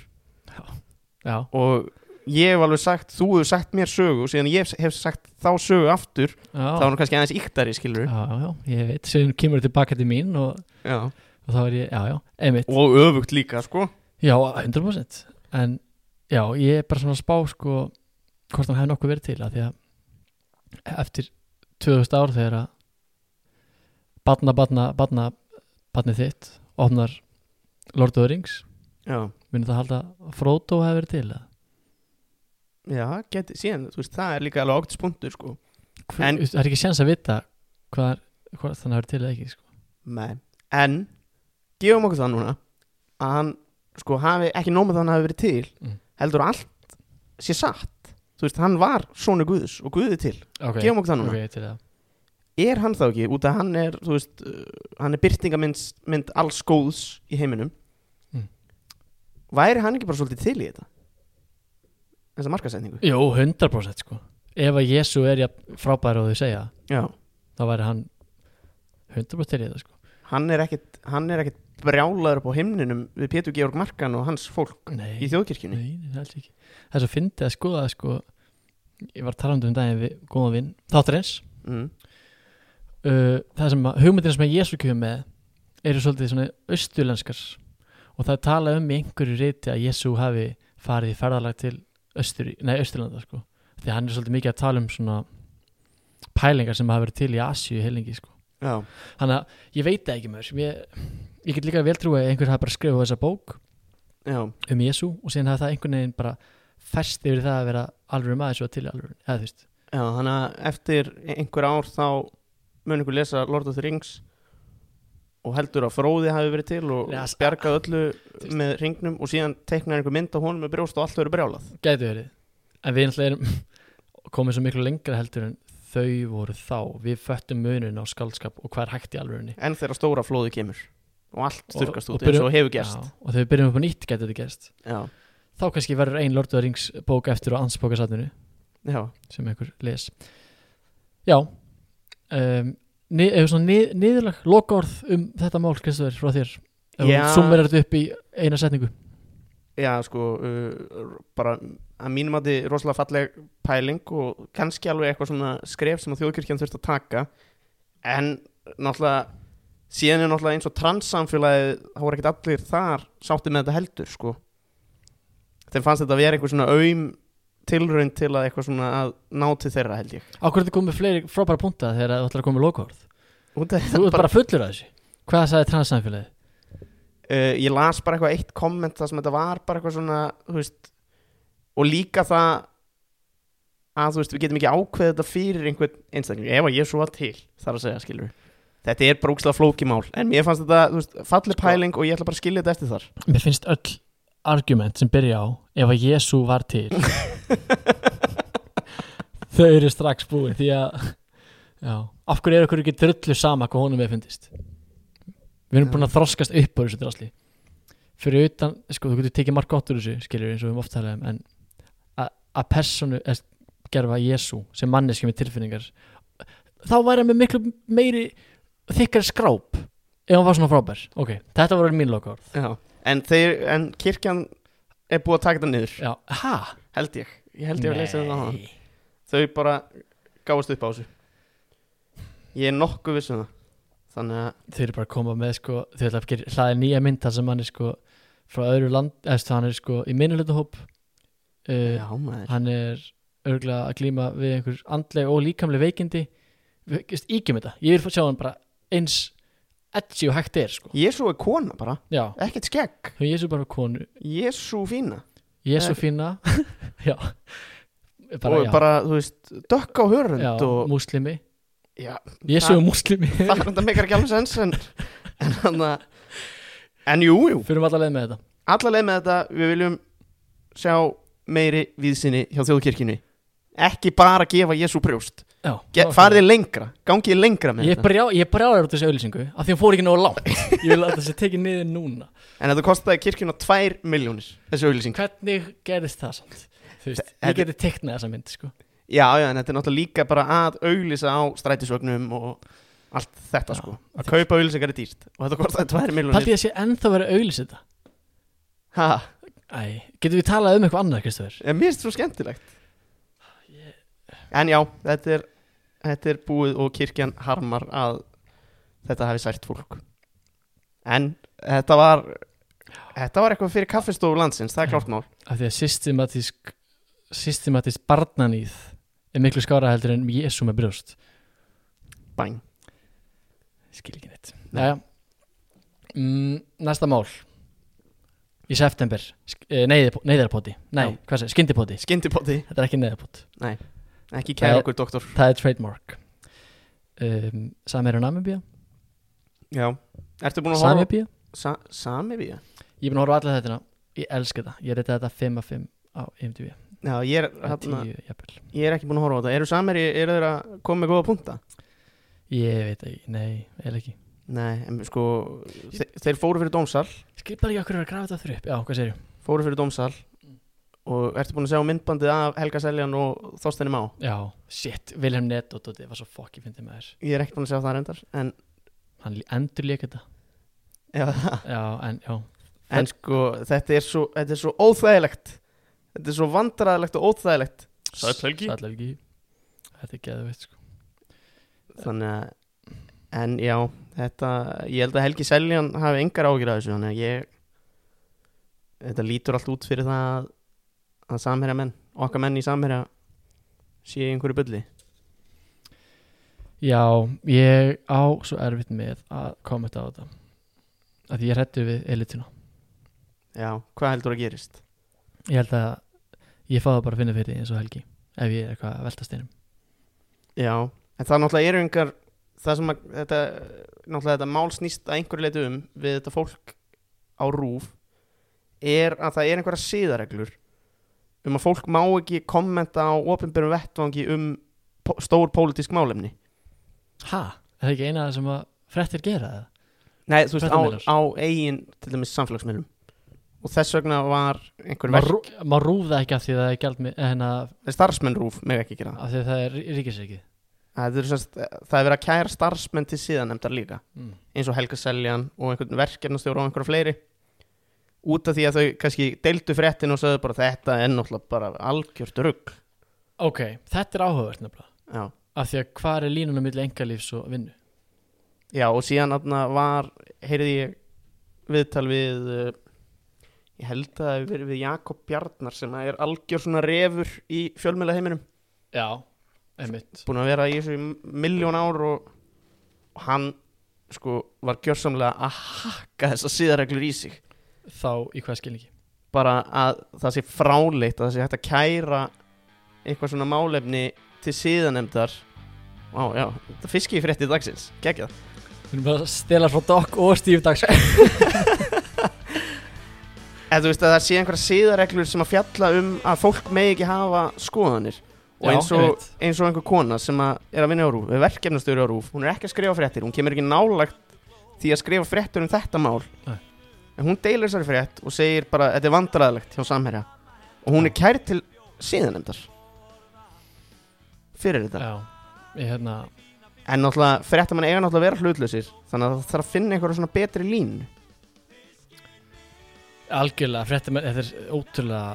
[SPEAKER 1] já,
[SPEAKER 2] og ég hef alveg sagt, þú hefur sagt mér sögu og síðan ég hef- hef sagt þá sögu aftur
[SPEAKER 1] já,
[SPEAKER 2] þá er hann kannski aðeins yktari, skilur
[SPEAKER 1] já, já, ég veit síðan kemur þetta tilbaka til mín og,
[SPEAKER 2] Já.
[SPEAKER 1] og þá er ég, já, já, einmitt
[SPEAKER 2] og öfugt líka, sko
[SPEAKER 1] já, 100% en já, ég er bara svona að spá sko, hvort hann hefði nokkuð verið til að því að eftir 2000 ár þegar að batna, batna, batna batnið þitt, opnar Lord of the Rings,
[SPEAKER 2] Já,
[SPEAKER 1] minnir það að halda að Frodo hefði verið til að
[SPEAKER 2] já geti, síðan, þú veist, það er líka alveg ágætis punktur, sko
[SPEAKER 1] Hver,
[SPEAKER 2] En-
[SPEAKER 1] það er ekki séns að vita hvað, hvað þannig að vera til eða ekki sko.
[SPEAKER 2] Nei. En gefum okkur það núna að hann sko hafi ekki nóg með það hann hafi verið til
[SPEAKER 1] Mm.
[SPEAKER 2] heldur að allt sé satt þú veist hann var sonu Guðs og Guði til
[SPEAKER 1] okay.
[SPEAKER 2] gefum okkur það núna
[SPEAKER 1] okay, til það.
[SPEAKER 2] er hann þá ekki út að hann er þú veist uh, hann er byrtingamind mynd alls góðs í heiminum
[SPEAKER 1] Mm.
[SPEAKER 2] væri hann ekki bara svolítið til í þetta þessa markasetningu
[SPEAKER 1] Jó, 100% sko. ef að Jésu er ja, frábæri og þau segja
[SPEAKER 2] já
[SPEAKER 1] þá væri hann 100% til í það sko.
[SPEAKER 2] hann er ekkit hann er ekkit brjálaður upp á himninum við Pétur Georg Markan og hans fólk
[SPEAKER 1] nei,
[SPEAKER 2] í þjóðkirkjunni
[SPEAKER 1] nei, nei, alls ekki það er svo fyndið að skoða sko, ég var talandi um daginn við góðan vinn þáttarins
[SPEAKER 2] mm.
[SPEAKER 1] uh, það sem að hugmyndina sem að Jésu kemur með eru svolítið svona austurlenskar og það er talað um í einhverju reyti að Jésu hafi farið í ferðalag til Östur, nei, Östurlanda sko því að hann er svolítið mikið að tala um svona pælingar sem hafa verið til í Asíu heilingi sko.
[SPEAKER 2] já
[SPEAKER 1] þannig að ég veit það ekki maður ég, ég get líka vel trúið að einhver hafi bara skrifað þessa bók
[SPEAKER 2] já
[SPEAKER 1] um Jésu og síðan hafi það einhvern veginn bara fest yfir það að vera alvöru maður svo til í alvöru eða þú veist
[SPEAKER 2] Já, þannig að eftir einhver ár þá mun ykkur lesa Lord of the Rings og heldur að fróði hafi verið til og
[SPEAKER 1] Nei,
[SPEAKER 2] Nei,
[SPEAKER 1] að-
[SPEAKER 2] bjargað öllu
[SPEAKER 1] veist.
[SPEAKER 2] með ringnum og síðan teiknar einhver mynd á honum með brjóst og allt verið brjálað
[SPEAKER 1] Gæti verið En við náttúrulega erum komið svo miklu lengra heldur en þau voru þá Við föttum munin á skaldskap og hvað er hægt í alvörunni
[SPEAKER 2] en þegar stóra flóði kemur og allt
[SPEAKER 1] Og-
[SPEAKER 2] þurkast
[SPEAKER 1] og
[SPEAKER 2] út eins
[SPEAKER 1] byrju-
[SPEAKER 2] og hefur gerst
[SPEAKER 1] Já, Og þegar við byrjum upp á nýtt gæti þetta gerst
[SPEAKER 2] Já,
[SPEAKER 1] Þá kannski verður ein Lord of the Rings bók eftir á ansbókasatninu
[SPEAKER 2] já,
[SPEAKER 1] sem einhver les Já um, ni- Ef svona nið, niðurlag lokaorð um þetta mál Kristofur frá þér Ef
[SPEAKER 2] Já.
[SPEAKER 1] hún sumir þetta upp í eina setningu
[SPEAKER 2] já sko uh, bara að mínum að þið rosalega falleg pæling og kannski alveg eitthvað svona skref sem að þjóðkirkjan þurft að taka en náttúrulega síðan er náttúrulega eins og transsamfélagið þá voru ekkert allir þar sátti með þetta heldur sko þeim fannst þetta að vera einhver svona aum tilraun til að eitthvað svona að ná til þeirra held ég
[SPEAKER 1] Á hverju þetta komið fleiri frábæra punta þegar þú ætlar að koma með lokaorð
[SPEAKER 2] Út af-
[SPEAKER 1] Þú ert bara fullur af þessu Hvað sagði transsamfélagið?
[SPEAKER 2] uh, ég las bara eitthvað eitt komment það sem þetta var bara eitthvað svona þú veist, og líka það að þú veist við getum ekki ákveðið þetta fyrir einhvern einstakling ef að ég svo var til þar að segja skilur þetta er bara úkslega flókimál en mér fannst þetta þú veist,
[SPEAKER 1] Sko.
[SPEAKER 2] falleg pæling og ég ætla bara að skilja þetta eftir þar
[SPEAKER 1] Mér finnst öll argument sem byrja á ef að Jésu var til þau eru strax búin því að já, af hverju er okkur ekki drullu sama hvað honum við fundist við erum búin að þroskast upp á þessu drasli fyrir utan, sko þú getur tekið mark gott úr þessu skilur eins og við höfum oft talað um en að- að personu er gerfa Jésu sem manneski með tilfinningar þá væri hann með miklu meiri þykkar skráp ef hann var svona frábær ok, þetta voru mín lokaorð
[SPEAKER 2] Já. en, þeir, en kirkjan er búið að taka þetta niður
[SPEAKER 1] Já, hæ?
[SPEAKER 2] held ég, ég held ég að leysa þetta á þau bara gáðast upp á þessu ég er nokkuð vissum það þannig að
[SPEAKER 1] Þau eru bara að koma með sko, þau ætla að gera hlaði nýja mynd þar sem hann er sko frá öðru land, eða hann er sko í minnulöndahóp uh,
[SPEAKER 2] já maður
[SPEAKER 1] hann er örgulega að glíma við einhver andleg og líkamleg veikindi Við- veist, íkjum þetta, ég vil fá að sjá hann bara eins edgi og hægt er sko
[SPEAKER 2] Jésu er kona bara,
[SPEAKER 1] Já,
[SPEAKER 2] ekkert skegg
[SPEAKER 1] þau Jésu bara konu
[SPEAKER 2] Jésu fína
[SPEAKER 1] Jésu
[SPEAKER 2] Nei.
[SPEAKER 1] fína Já, bara,
[SPEAKER 2] og
[SPEAKER 1] já,
[SPEAKER 2] bara, þú veist, dökk á hörund
[SPEAKER 1] já
[SPEAKER 2] og
[SPEAKER 1] múslimi
[SPEAKER 2] já,
[SPEAKER 1] Jésu
[SPEAKER 2] Það-
[SPEAKER 1] er múslimi
[SPEAKER 2] það þetta meikar ekki alveg sens en, en hann að en jú, jú,
[SPEAKER 1] Fyrir um alla leið með þetta
[SPEAKER 2] alla leið með þetta við viljum sjá meiri víðsynni hjá þjóðkirkjunni ekki bara gefa Jésu brjóst
[SPEAKER 1] Já,
[SPEAKER 2] Get, farið lengra, gangið lengra með
[SPEAKER 1] Ég
[SPEAKER 2] þetta
[SPEAKER 1] brjá, ég brjálar út þessu auðlýsingu af því hún fór ekki nógu langt Ég vil að það sé tekið niður núna
[SPEAKER 2] En þetta kostaði kirkjuna 2 miljónir Þessi auglýsing
[SPEAKER 1] Hvernig gerðist það samt? Þú veist,
[SPEAKER 2] Þetta-
[SPEAKER 1] ég geti teiknað þessa mynd sko.
[SPEAKER 2] Já, já, en þetta er náttúrulega líka bara að auglýsa á strætisvögnum og allt þetta
[SPEAKER 1] Já.
[SPEAKER 2] sko Að kaupa auglýsingar er dýrt Og þetta kostaði 2
[SPEAKER 1] Paldi
[SPEAKER 2] miljónir
[SPEAKER 1] ég að sé ennþá verið að auðlýsa þetta
[SPEAKER 2] Ha,
[SPEAKER 1] Æ, getum við talað um eitthvað annað, Kristofur?
[SPEAKER 2] en mér finnst þetta svo skemmtilegt En já, þetta er, þetta er búið og kirkjan harmar að þetta hafi sært fólk En þetta var Þetta var eitthvað fyrir kaffestofu landsins, það er klart mál
[SPEAKER 1] Af því að systematísk systematísk barnanýð er miklu skára heldur en Jésu með brjóst
[SPEAKER 2] Bæn
[SPEAKER 1] Skil ekki neitt
[SPEAKER 2] Nei.
[SPEAKER 1] Jæja mm, Næsta mál Í september sk- eh, neyðarp- Neyðarpoti Nei,
[SPEAKER 2] Já.
[SPEAKER 1] hvað segir, skyndipoti
[SPEAKER 2] Skyndipoti,
[SPEAKER 1] Þetta er ekki neyðarpot
[SPEAKER 2] ekki
[SPEAKER 1] Það
[SPEAKER 2] kæra
[SPEAKER 1] er-
[SPEAKER 2] okkur doktor
[SPEAKER 1] Það er trademark um, Samir og Namibía
[SPEAKER 2] Já, ertu búin að horfa
[SPEAKER 1] Samibía
[SPEAKER 2] Sa Samibía?
[SPEAKER 1] Ég er búin að horfa allir þetta Ég elska þetta Ég reyta þetta 5 af 5 á IMDb
[SPEAKER 2] Já, ég er,
[SPEAKER 1] Eða
[SPEAKER 2] hafna,
[SPEAKER 1] 10 jafnvel
[SPEAKER 2] ég er ekki búin að horfa á þetta Eru samir, eru þeir að koma með góða punta?
[SPEAKER 1] Ég veit ekki, nei, eða ekki
[SPEAKER 2] Nei, en sko þe Þeir fóru fyrir dómsal
[SPEAKER 1] Skil bara ekki okkur að grafa þetta aftur upp Já, hvað segir
[SPEAKER 2] Fóru fyrir dómsal Og ertu búin að sjá myndbandið af Helga Seljan og Þorsteini Má?
[SPEAKER 1] Já, shit, Vilhelm Nett og Dóti var svo fokki fyndið með þér
[SPEAKER 2] Ég er ekki búin að sjá það reyndar En,
[SPEAKER 1] Hann endur líka þetta
[SPEAKER 2] já,
[SPEAKER 1] Já, en, já
[SPEAKER 2] en sko, þetta er svo, þetta er svo óþægilegt Þetta er svo vandræðilegt og óþægilegt Sæll Helgi.
[SPEAKER 1] Sæll Helgi Þetta er geðveitt sko
[SPEAKER 2] Þannig að En já, þetta Ég held að Helgi Seljan hafi engar ágjur að þessu Þannig að ég Þetta lítur allt út fyrir það að, að samherja menn, okkar menn í samherja sé í einhverju bulli
[SPEAKER 1] Já, ég á svo erfitt með að kommenta á þetta að því ég hrættu við elituna
[SPEAKER 2] Já, hvað heldur að gerist?
[SPEAKER 1] Ég held að ég fá það bara að finna fyrir því eins og Helgi ef ég er eitthvað að um. velta steinum
[SPEAKER 2] Já, en það náttúrulega eru einhver það sem að þetta náttúrulega þetta mál snýst að einhverju leiti um við þetta fólk á rúf er að það er einhverja siðareglur um að fólk má ekki kommenta á opinberum vettvangi um po- stór pólitísk málefni
[SPEAKER 1] Ha? Er það ekki eina sem að frettir gera það?
[SPEAKER 2] Nei, þú veist, á,
[SPEAKER 1] Fréttamílar.
[SPEAKER 2] á eigin til dæmis samfélagsmiðlum og þess vegna var einhver
[SPEAKER 1] Má,
[SPEAKER 2] verk,
[SPEAKER 1] rú, má rúða ekki af því að það er gjald með en að,
[SPEAKER 2] starfsmenn rúf með ekki gera það.
[SPEAKER 1] af því að það er ríkisrikið
[SPEAKER 2] Það er, sérst, það er verið að kæra starfsmenn til síðanemdar líka
[SPEAKER 1] mm.
[SPEAKER 2] eins og Helga Seljan og einhvern verkefnastjóra og einhverja fleiri út af því að þau kannski deildu fréttin og sögðu bara þetta er náttúrulega bara algjört rugg
[SPEAKER 1] Ok, þetta er áhugavert nefnilega
[SPEAKER 2] Já.
[SPEAKER 1] af því að hvað er línunum milli engalífs og vinnu?
[SPEAKER 2] Já, og síðan aðna var heyrði ég viðtal við uh, ég held að það hafi verið við Jakob Bjarnar sem að er algjör svona refur í fjölmjöla heiminum
[SPEAKER 1] Já, einmitt
[SPEAKER 2] búin að vera í þessu miljón ár og, og hann sko var gjörsamlega að hakka þessar síðareglur í sig
[SPEAKER 1] Þá í hvað skilningi?
[SPEAKER 2] bara að það sé fráleitt að það sé hægt að kæra eitthvað svona málefni til síðanemdar Ó, já, þetta fiski í frétti dagsins geggjað
[SPEAKER 1] Við erum bara að stela frá Doc og Steve Dags
[SPEAKER 2] eða þú veist að það sé einhverja síðareglur sem að fjalla um að fólk megi ekki hafa skoðanir
[SPEAKER 1] Já,
[SPEAKER 2] og eins
[SPEAKER 1] ég
[SPEAKER 2] og,
[SPEAKER 1] veit.
[SPEAKER 2] eins og einhver kona sem að er að vinna á rúf, er verkefnastöru á rúf hún er ekki að skrifa fréttir, hún kemur ekki nálagt því að skrifa fréttur um þetta mál
[SPEAKER 1] Nei.
[SPEAKER 2] en hún deilur þessari frétt og segir bara, þetta er vandræðilegt hjá samherja og hún er kært til síðanemdar fyrir þetta
[SPEAKER 1] Já, ég hérna
[SPEAKER 2] en náttúrulega fréttamann eiga náttúrulega að vera hlutlausir þannig að það þarf að finna einhverja svona betri lín
[SPEAKER 1] algjörlega fréttum þetta er ótrúlega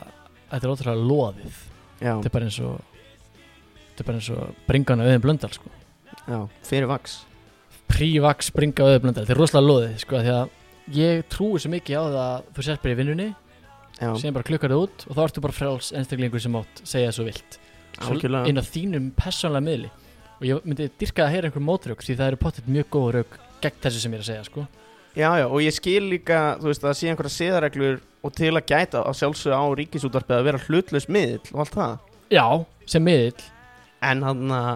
[SPEAKER 1] þetta er ótrúlega loðið
[SPEAKER 2] já,
[SPEAKER 1] þetta er bara eins og þetta er bara eins og bringan auðin blöndal sko.
[SPEAKER 2] já, fyrir vaks
[SPEAKER 1] prívax bringa auðin blöndal þetta er rosalega loðið sko, af því að ég trúi svo mikið á það að þú sérst bara í vinnunni
[SPEAKER 2] já,
[SPEAKER 1] sem bara klukkar það út og þá ertu bara fráls einstaklingur sem átt segja svo vilt Svo
[SPEAKER 2] algjörlega
[SPEAKER 1] inn á þínum persónlega miðli og ég myndi dyrka að heyra einhver mótrök því það eru pottet mjög góð rauk gegn þessu sem ég er að segja sko.
[SPEAKER 2] Já, já, og ég skil líka, þú veist, að sé einhverja siðareglur og til að gæta á sjálfsögðu á ríkisútvarpið að vera hlutlaus miðill og allt það.
[SPEAKER 1] já, sem miðill
[SPEAKER 2] En hann að,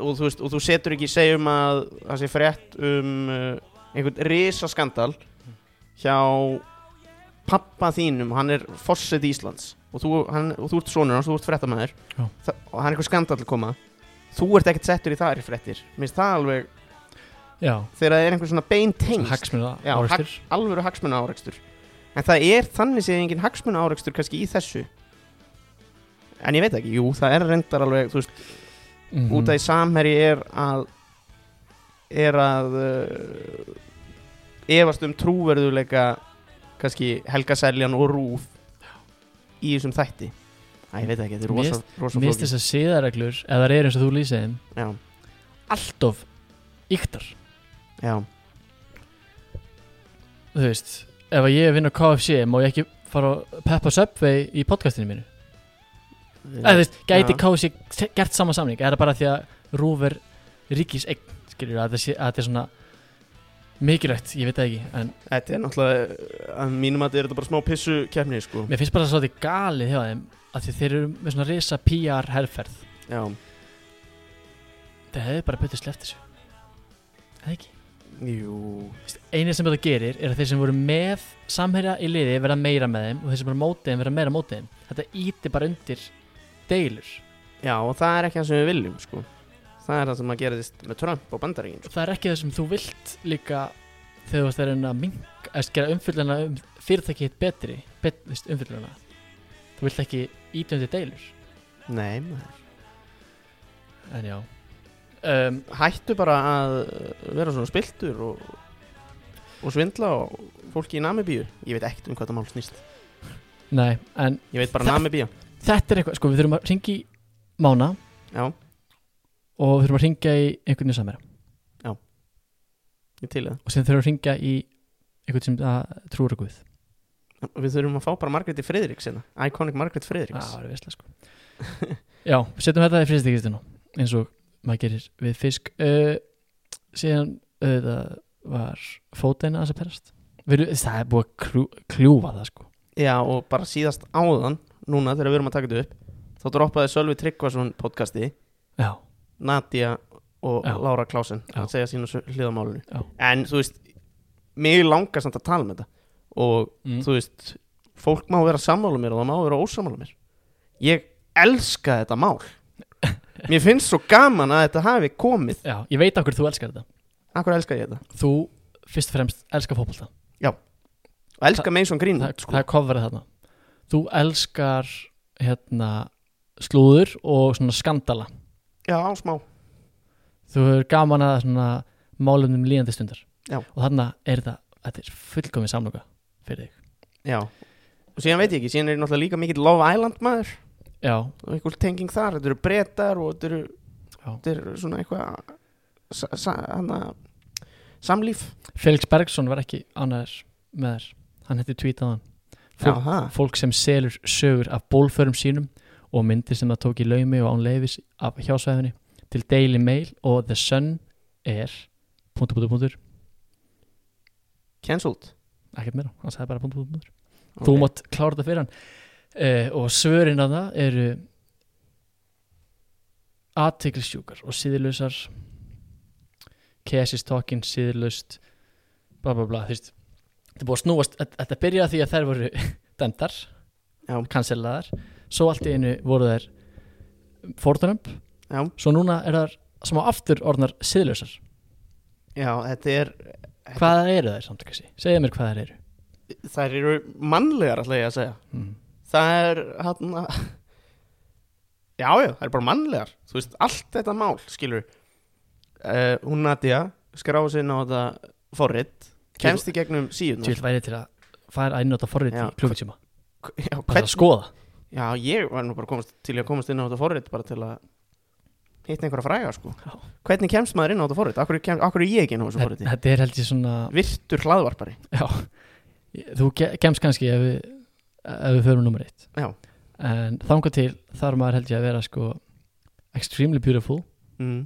[SPEAKER 2] og þú veist, og þú setur ekki segjum að það sé frétt um uh, einhvern risaskandal hjá pappa þínum, hann er fosset Íslands og þú, hann, og þú ert sonur hans, þú ert fréttamæður
[SPEAKER 1] Já.
[SPEAKER 2] Þa- og hann er eitthvað skandal að koma. þú ert ekkert settur í þar fréttir Mér finnst það alveg
[SPEAKER 1] já,
[SPEAKER 2] þegar það er einhver svona bein
[SPEAKER 1] svona
[SPEAKER 2] tengst
[SPEAKER 1] hagsmunna
[SPEAKER 2] Já,
[SPEAKER 1] árekstur
[SPEAKER 2] alvöru hagsmuna áreikstur en það er þannig séð engin hagsmuna áreikstur kannski í þessu en ég veit ekki, jú, það er reyndar alveg þú veist,
[SPEAKER 1] mm
[SPEAKER 2] út af í samherji er að er að uh, efast um trúverðuleika kannski Helga Seljan og Rúf í þessum þætti Æ, ég veit ekki, þetta er rosa, rosa
[SPEAKER 1] Mér finnst
[SPEAKER 2] flókið.
[SPEAKER 1] þess að siðareglur, ef það er eins og þú lýsið þeim,
[SPEAKER 2] Já,
[SPEAKER 1] allt of yktar,
[SPEAKER 2] já,
[SPEAKER 1] þú veist ef að ég vinn á KFC, má ég ekki fara að peppa Subway í podcastinu mínu eða þú veist, gæti
[SPEAKER 2] Já.
[SPEAKER 1] KFC se- gert sama samning, er það bara því að rúver ríkis eign, skilur að þetta sé- að þetta er svona mikilvægt, ég veit það ekki, en
[SPEAKER 2] Þetta er náttúrulega að mínum að þetta er þetta bara smá pissu kefni sko.
[SPEAKER 1] mér finnst bara svolítið galið hjá þeim, að því þeir eru með svona risa PR herrferð,
[SPEAKER 2] Já,
[SPEAKER 1] þeir hefðu bara betur sleppt þessu eða ekki
[SPEAKER 2] jú
[SPEAKER 1] eina sem þetta gerir er að þeir sem voru með samherja í liði verða meira með þeim og þeir sem voru mótið þeim verða meira mótið þeim þetta íti bara undir deilur
[SPEAKER 2] Já, og það er ekki það sem við viljum, sko. Það er það sem að gerðist með Trump og bandaríkinn, sko.
[SPEAKER 1] og það er ekki það sem þú vilt líka þegar þú varst að reyna að mink að gera umfylluna um fyrirtæki hitt betri bet, veist, umfylluna þú vilt ekki íti undir deilur
[SPEAKER 2] Nei, maður.
[SPEAKER 1] en já um,
[SPEAKER 2] hættu bara að vera svona spiltur og, og svindla og fólki í Namibíu. Ég veit ekkert um hvað það mál snýst.
[SPEAKER 1] nei, en
[SPEAKER 2] Ég veit bara
[SPEAKER 1] Það-
[SPEAKER 2] Namibíu.
[SPEAKER 1] þetta er eitthvað sko við þurfum að ringi mána
[SPEAKER 2] Já,
[SPEAKER 1] og við þurfum að ringja í einhvern veginn samherja
[SPEAKER 2] ég til það.
[SPEAKER 1] og sem þurfum að ringja í einhvern sem að trúur að guð
[SPEAKER 2] Við þurfum að fá bara Margréti Friðriks hérna. Iconic Margrét Friðriks.
[SPEAKER 1] Það var veistlega sko Já, setjum þetta í fristikistinu eins og maður gerir við fisk uh, síðan uh, það var fóteina að perast Veru, það er búið að krú, kljúfa það sko
[SPEAKER 2] Já, og bara síðast áðan, núna þegar við erum að taka þetta upp, þá droppaði Sölvi Tryggvason podcasti,
[SPEAKER 1] Já,
[SPEAKER 2] Nadia og
[SPEAKER 1] Já.
[SPEAKER 2] Lára Klásen
[SPEAKER 1] Já.
[SPEAKER 2] að segja sínu hliðamálinu.
[SPEAKER 1] Já.
[SPEAKER 2] En þú veist, mig langar samt að tala um þetta og
[SPEAKER 1] Mm.
[SPEAKER 2] þú veist, fólk má vera sammála mér og það má vera ósammála mér ég elska þetta mál mér finnst svo gaman að þetta hafi komið
[SPEAKER 1] Já, ég veit okkur þú elskar þetta
[SPEAKER 2] akkur elska ég þetta
[SPEAKER 1] Þú fyrst og fremst elskar fótbolta
[SPEAKER 2] og elska Mason
[SPEAKER 1] Þa,
[SPEAKER 2] Greenwood
[SPEAKER 1] Það
[SPEAKER 2] sko.
[SPEAKER 1] er kofverið þarna Þú elskar hérna slúður og svona skandala
[SPEAKER 2] já, á smá
[SPEAKER 1] Þú hefur gaman að svona málumnum líðandi stundar
[SPEAKER 2] Já.
[SPEAKER 1] og þarna er það, þetta er fullkomin samloka fyrir þig
[SPEAKER 2] já. og síðan veit ég ekki, síðan er ég náttúrulega líka mikill Love Island maður
[SPEAKER 1] Já,
[SPEAKER 2] og einhver tenging þar, þetta eru brettar og þetta eru,
[SPEAKER 1] Já.
[SPEAKER 2] þetta eru svona eitthvað sa, sa, hana, samlíf
[SPEAKER 1] Felix Bergson var ekki annar með þér hann hætti tweetað hann fólk,
[SPEAKER 2] Jaha.
[SPEAKER 1] fólk sem selur sögur af bólförum sínum og myndir sem það tók í laumi og án leifis af hjásvæðinni til Daily Mail og The Sun er punktu, punktu, punktur,
[SPEAKER 2] cancelled
[SPEAKER 1] ekkert meira hann sagði bara punktu, punktu, punktur þú
[SPEAKER 2] Ok.
[SPEAKER 1] mátt klára þetta fyrir hann uh, og svörin að það eru aðteglisjúkar og síðlausar Cass is talking síðlaust bla bla bla þú veist þetta er búið að snúast, þetta- þetta byrjaði á því að þær voru dæmdar,
[SPEAKER 2] Já.
[SPEAKER 1] cancelaðar svo allt í einu voru þær fórtunömb,
[SPEAKER 2] já,
[SPEAKER 1] svo núna er þar smá aftur orðnar síðlausar
[SPEAKER 2] já, þetta er
[SPEAKER 1] hvað eru þær samt ekki segja mér hvað þær eru
[SPEAKER 2] þær eru mannlegar alltaf ég að segja
[SPEAKER 1] mm.
[SPEAKER 2] það er hann já, já, það er bara mannlegar þú veist, allt þetta mál, skilur uh, hún Nadia skráði sig inn á þetta forrit kemst í gegnum síðuna
[SPEAKER 1] tjóðl væri til að fara að innota forrið
[SPEAKER 2] Já.
[SPEAKER 1] í klukkutíma,
[SPEAKER 2] já,
[SPEAKER 1] bara
[SPEAKER 2] hvern,
[SPEAKER 1] að skoða
[SPEAKER 2] já, ég var nú bara komast, til að komast inn á þetta forrit bara til að hitta einhverja fræga, sko
[SPEAKER 1] Já.
[SPEAKER 2] hvernig kemst maður inn á þetta forrit, akkur, kem, akkur er ég ekki inn á þessu
[SPEAKER 1] Þetta
[SPEAKER 2] forriti
[SPEAKER 1] þetta er held ég svona
[SPEAKER 2] virtur hlaðvarpari
[SPEAKER 1] já, ég- Þú ge- kemst kannski ef við, ef við förum nummer eitt
[SPEAKER 2] Já.
[SPEAKER 1] En þangað til þarf maður held ég að vera sko Extremely beautiful
[SPEAKER 2] mm.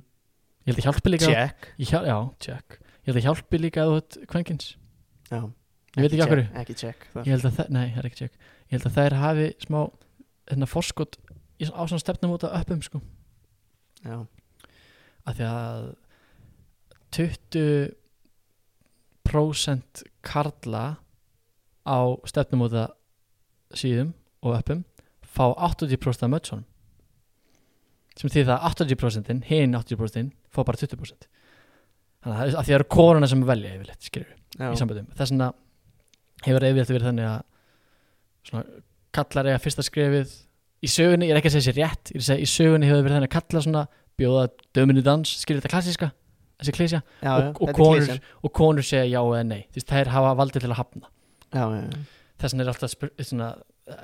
[SPEAKER 1] Ég held að hjálpi líka
[SPEAKER 2] check
[SPEAKER 1] ég hjá, Já, check Ég held að hjálpi líka að þú hett kvenkins
[SPEAKER 2] já.
[SPEAKER 1] Ég veit ekki af hverju
[SPEAKER 2] check, ekki check það.
[SPEAKER 1] Ég held að það, nei, það er ekki check Ég held að þær hafi smá hérna forskot í, á svona stefnum út að uppum sko
[SPEAKER 2] já,
[SPEAKER 1] Af því að 20% karla á stefnumóta síðum og öppum fá 80% af mötsunum sem því það að 80% hinn 80% fá bara 20% þannig að það er- að því það eru koruna sem velja yfirleitt skilur í
[SPEAKER 2] já,
[SPEAKER 1] samböndum þess vegna hefur yfirleitt verið þannig að svona, kallar eiga fyrsta skrefið í sögunni, ég er ekki að segja sér rétt ég er að segja í sögunni hefur verið þannig að kallar svona bjóða döminu dans, skilur þetta klassíska þessi klísja
[SPEAKER 2] já, já,
[SPEAKER 1] og, og,
[SPEAKER 2] þetta er
[SPEAKER 1] konur,
[SPEAKER 2] klisjan.
[SPEAKER 1] og konur segja já eða nei þú veist, þær hafa valdið til að hafna
[SPEAKER 2] já, já, já.
[SPEAKER 1] þess vegna er alltaf spyr, svona,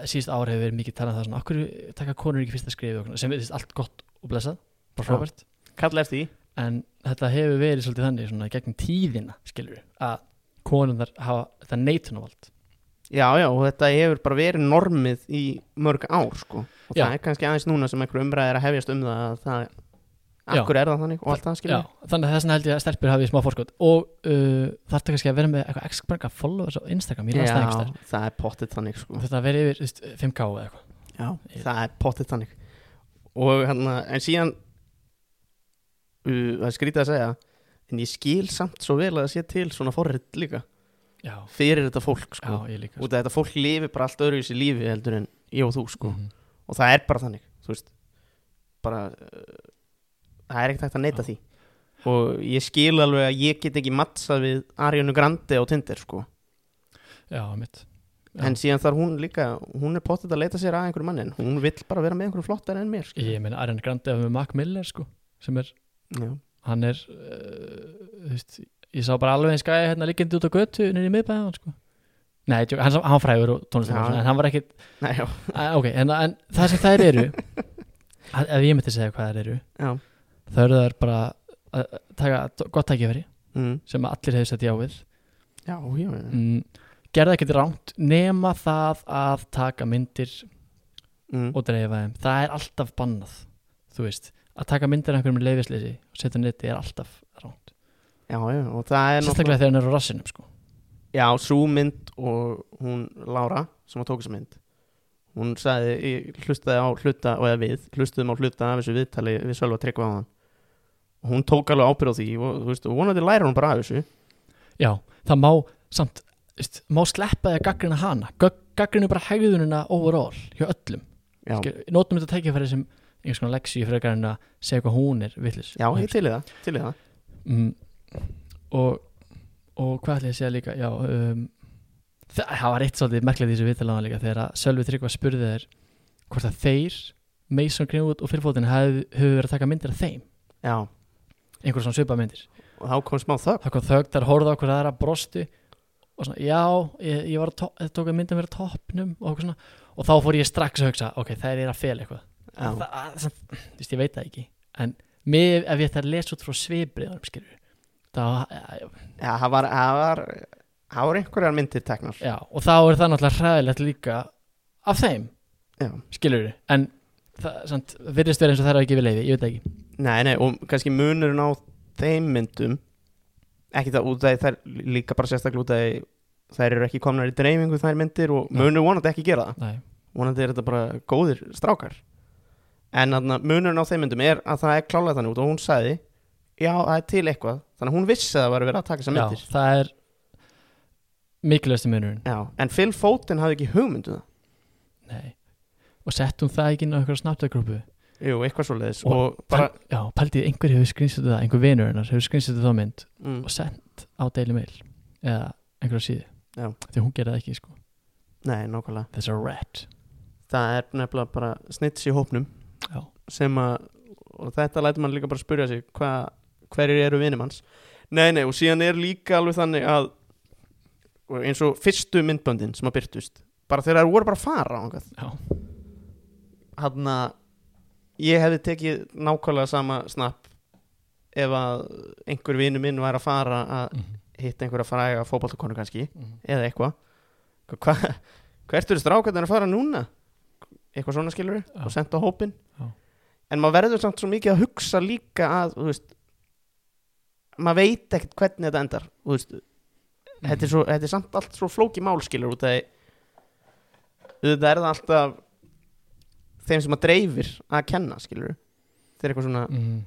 [SPEAKER 1] síðust ára hefur verið mikið talað um það svona, okkur taka konur ekki fyrsta skrifið okkur, sem er þú veist, allt gott og blessað, bara
[SPEAKER 2] Já.
[SPEAKER 1] frábært
[SPEAKER 2] kalla eftir því
[SPEAKER 1] en þetta hefur verið svolítið þannig svona, gegnum tíðina, skilur að konurnar hafa þetta neitunavald
[SPEAKER 2] já, já, og þetta hefur bara verið normið í mörg ár sko. og
[SPEAKER 1] Já.
[SPEAKER 2] það er kannski aðeins núna sem einhver umræð er að hefjast um það að það,
[SPEAKER 1] Já.
[SPEAKER 2] akkur er það þannig og allt það
[SPEAKER 1] Já,
[SPEAKER 2] skilja
[SPEAKER 1] þannig að þess vegna held ég að stelpur hafi smá fórskot og uh, þarf kannski að vera með eitthvað x marga followers á Instagram, ég las það einhvers
[SPEAKER 2] já, það er pottitt þannig sko.
[SPEAKER 1] þar þetta að vera yfir þú veist, 5k eða eitthvað
[SPEAKER 2] Já, það er pottið þannig og hann en síðan uh, það er skrítið að segja en ég skil samt svo vel að það sé til svona forrið líka
[SPEAKER 1] já,
[SPEAKER 2] fyrir þetta fólk
[SPEAKER 1] já,
[SPEAKER 2] sko
[SPEAKER 1] ég líka
[SPEAKER 2] út af þetta fólk lifi bara allt öðru í sér lífi heldur en ég og þú sko
[SPEAKER 1] Mhm.
[SPEAKER 2] og það er bara þannig þú veist bara uh, það er ekkert hægt að neyta
[SPEAKER 1] Já.
[SPEAKER 2] því og ég skil alveg að ég get ekki mattsað við Ariana Grande á Tinder sko
[SPEAKER 1] já, mitt Já.
[SPEAKER 2] en síðan þar hún líka hún er pottið að leita sér að einhverjum mannin hún vill bara vera með einhverjum flottar en mér sko.
[SPEAKER 1] ég meina Ariana Grande er með Mac Miller sko, sem er
[SPEAKER 2] Já.
[SPEAKER 1] hann er uh, þú veist, ég sá bara alveg eins gæði hérna líkjandi út á götu nýri miðbæðan sko. nei, djók, hann, hann var frægur og tónlistamæður
[SPEAKER 2] Já.
[SPEAKER 1] en hann var ekki,
[SPEAKER 2] Nei, já,
[SPEAKER 1] ok, en, en það sem þær eru að- ef ég myndi segja hvað þær eru
[SPEAKER 2] já.
[SPEAKER 1] þá eru þær bara að að taka gott tækifæri
[SPEAKER 2] Mm.
[SPEAKER 1] sem allir hefur sett já við
[SPEAKER 2] Já, já, já.
[SPEAKER 1] mm, gerða ekkert rámt nema það að taka myndir
[SPEAKER 2] Mm.
[SPEAKER 1] og dreifa þeim það er alltaf bannað, þú veist að taka myndir af einhverjum leifisleysi og setja netti er alltaf rámt
[SPEAKER 2] já, já, og það er
[SPEAKER 1] sérstaklega þegar hann er á rassinum sko.
[SPEAKER 2] Já, svo mynd og hún Lára, sem að tók þessa mynd hún sagði, ég hlustaði á hluta og eða við, hlustuðum á hluta af þessu viðtali við Sölva Tryggva á hann og hún tók alveg ábyrð á því og þú veist, og vonandi læra hún bara af þessu
[SPEAKER 1] Já, það má samt veist, má sleppa því að gaggrina hana gaggrinu bara hegðunina overall hjá öllum,
[SPEAKER 2] Já,
[SPEAKER 1] Ske- notum þetta tækifæri sem einhvers konar leksi í frekar en að segja hvað hún er villis
[SPEAKER 2] já ég til í það, til í það
[SPEAKER 1] mm, og, og hvað ætla ég að segja líka já, um, það, það var eitt svolítið merkilegt í þessu viðtaláðan líka þegar að Sölvi Tryggva spurði þeir hvort að þeir Mason Greenwood og Philfótin hefur verið að taka myndir af þeim
[SPEAKER 2] Já,
[SPEAKER 1] einhverjum svona svipa myndir
[SPEAKER 2] og þá kom smá þögn
[SPEAKER 1] það kom þögn, þær horfðu á okkur aðra brostu og svona, já, ég, ég var að to- tók að mynda mér á toppnum og okkur svona og þá fór ég strax að hugsa, ok, þær er að fela eitthvað
[SPEAKER 2] Já,
[SPEAKER 1] það, að- samt, þú veist, ég veit það ekki en mér, ef ég ætti að lesa út frá svipriðanum, skilur þá,
[SPEAKER 2] já það var, það var það var einhverjar myndir teknar
[SPEAKER 1] já, og þá er það náttúrulega hræðilegt líka af þeim,
[SPEAKER 2] Já.
[SPEAKER 1] skilur en það, samt, virðist verið eins og þær hafi gefið leiði, ég veit það ekki
[SPEAKER 2] Nei, nei, og kannski munurinn á þeim myndum ekki það út að þær líka bara sérstaklega út að þær eru ekki komnar í dreifingu þær myndir og
[SPEAKER 1] Nei.
[SPEAKER 2] munur vonandi ekki gera það
[SPEAKER 1] Nei.
[SPEAKER 2] vonandi er þetta bara góðir strákar en þarna, munurinn á þeim myndum er að það er klálega þannig út og hún sagði já, það er til eitthvað þannig að hún vissi að það var verið að taka þessar
[SPEAKER 1] já,
[SPEAKER 2] myndir
[SPEAKER 1] það er mikilvægstu munurinn
[SPEAKER 2] já, en Phil Foden hafði ekki hugmyndu það
[SPEAKER 1] Nei. og settum það ekki inn á einhverja snapdagrúpu
[SPEAKER 2] jú, eitthvað svo leiðis
[SPEAKER 1] Og
[SPEAKER 2] og, bara,
[SPEAKER 1] Pæl- Já, pæltið einhver hefur skrýnstöðu það, einhver vinur hennar hefur skrýnstöðu það mynd
[SPEAKER 2] mm,
[SPEAKER 1] og sendt á Daily Mail eða einhverja síðu
[SPEAKER 2] Já.
[SPEAKER 1] því hún gerði það ekki sko
[SPEAKER 2] nei, nákvæmlega
[SPEAKER 1] That's a rat
[SPEAKER 2] það er nefnilega bara snitts í hópnum
[SPEAKER 1] Já,
[SPEAKER 2] sem að og þetta lætur mann líka bara spyrja sig hva, hverjir eru vinum hans nei nei og síðan er líka alveg þannig að og eins og fyrstu myndböndin sem að byrtust bara þegar þær voru bara að fara ángað
[SPEAKER 1] já,
[SPEAKER 2] hann að ég hefði tekið nákvæmlega sama snapp ef að einhver vinur minn var að fara að
[SPEAKER 1] Mhm.
[SPEAKER 2] hitta einhverja fræga fótballtakonu kannski
[SPEAKER 1] Mhm.
[SPEAKER 2] eða eitthvað hva, hvert eru strákarnir að fara núna eitthvað svona skilur
[SPEAKER 1] Já.
[SPEAKER 2] og senda hópin
[SPEAKER 1] Já.
[SPEAKER 2] en maður verður samt svo mikið að hugsa líka að þú veist maður veit ekkert hvernig þetta endar þú veist,
[SPEAKER 1] Mhm.
[SPEAKER 2] þetta, er svo, þetta er samt allt svo flóki málskilur út að þetta er það alltaf þeim sem að dreifir að kenna skilur þetta er eitthvað svona,
[SPEAKER 1] mm,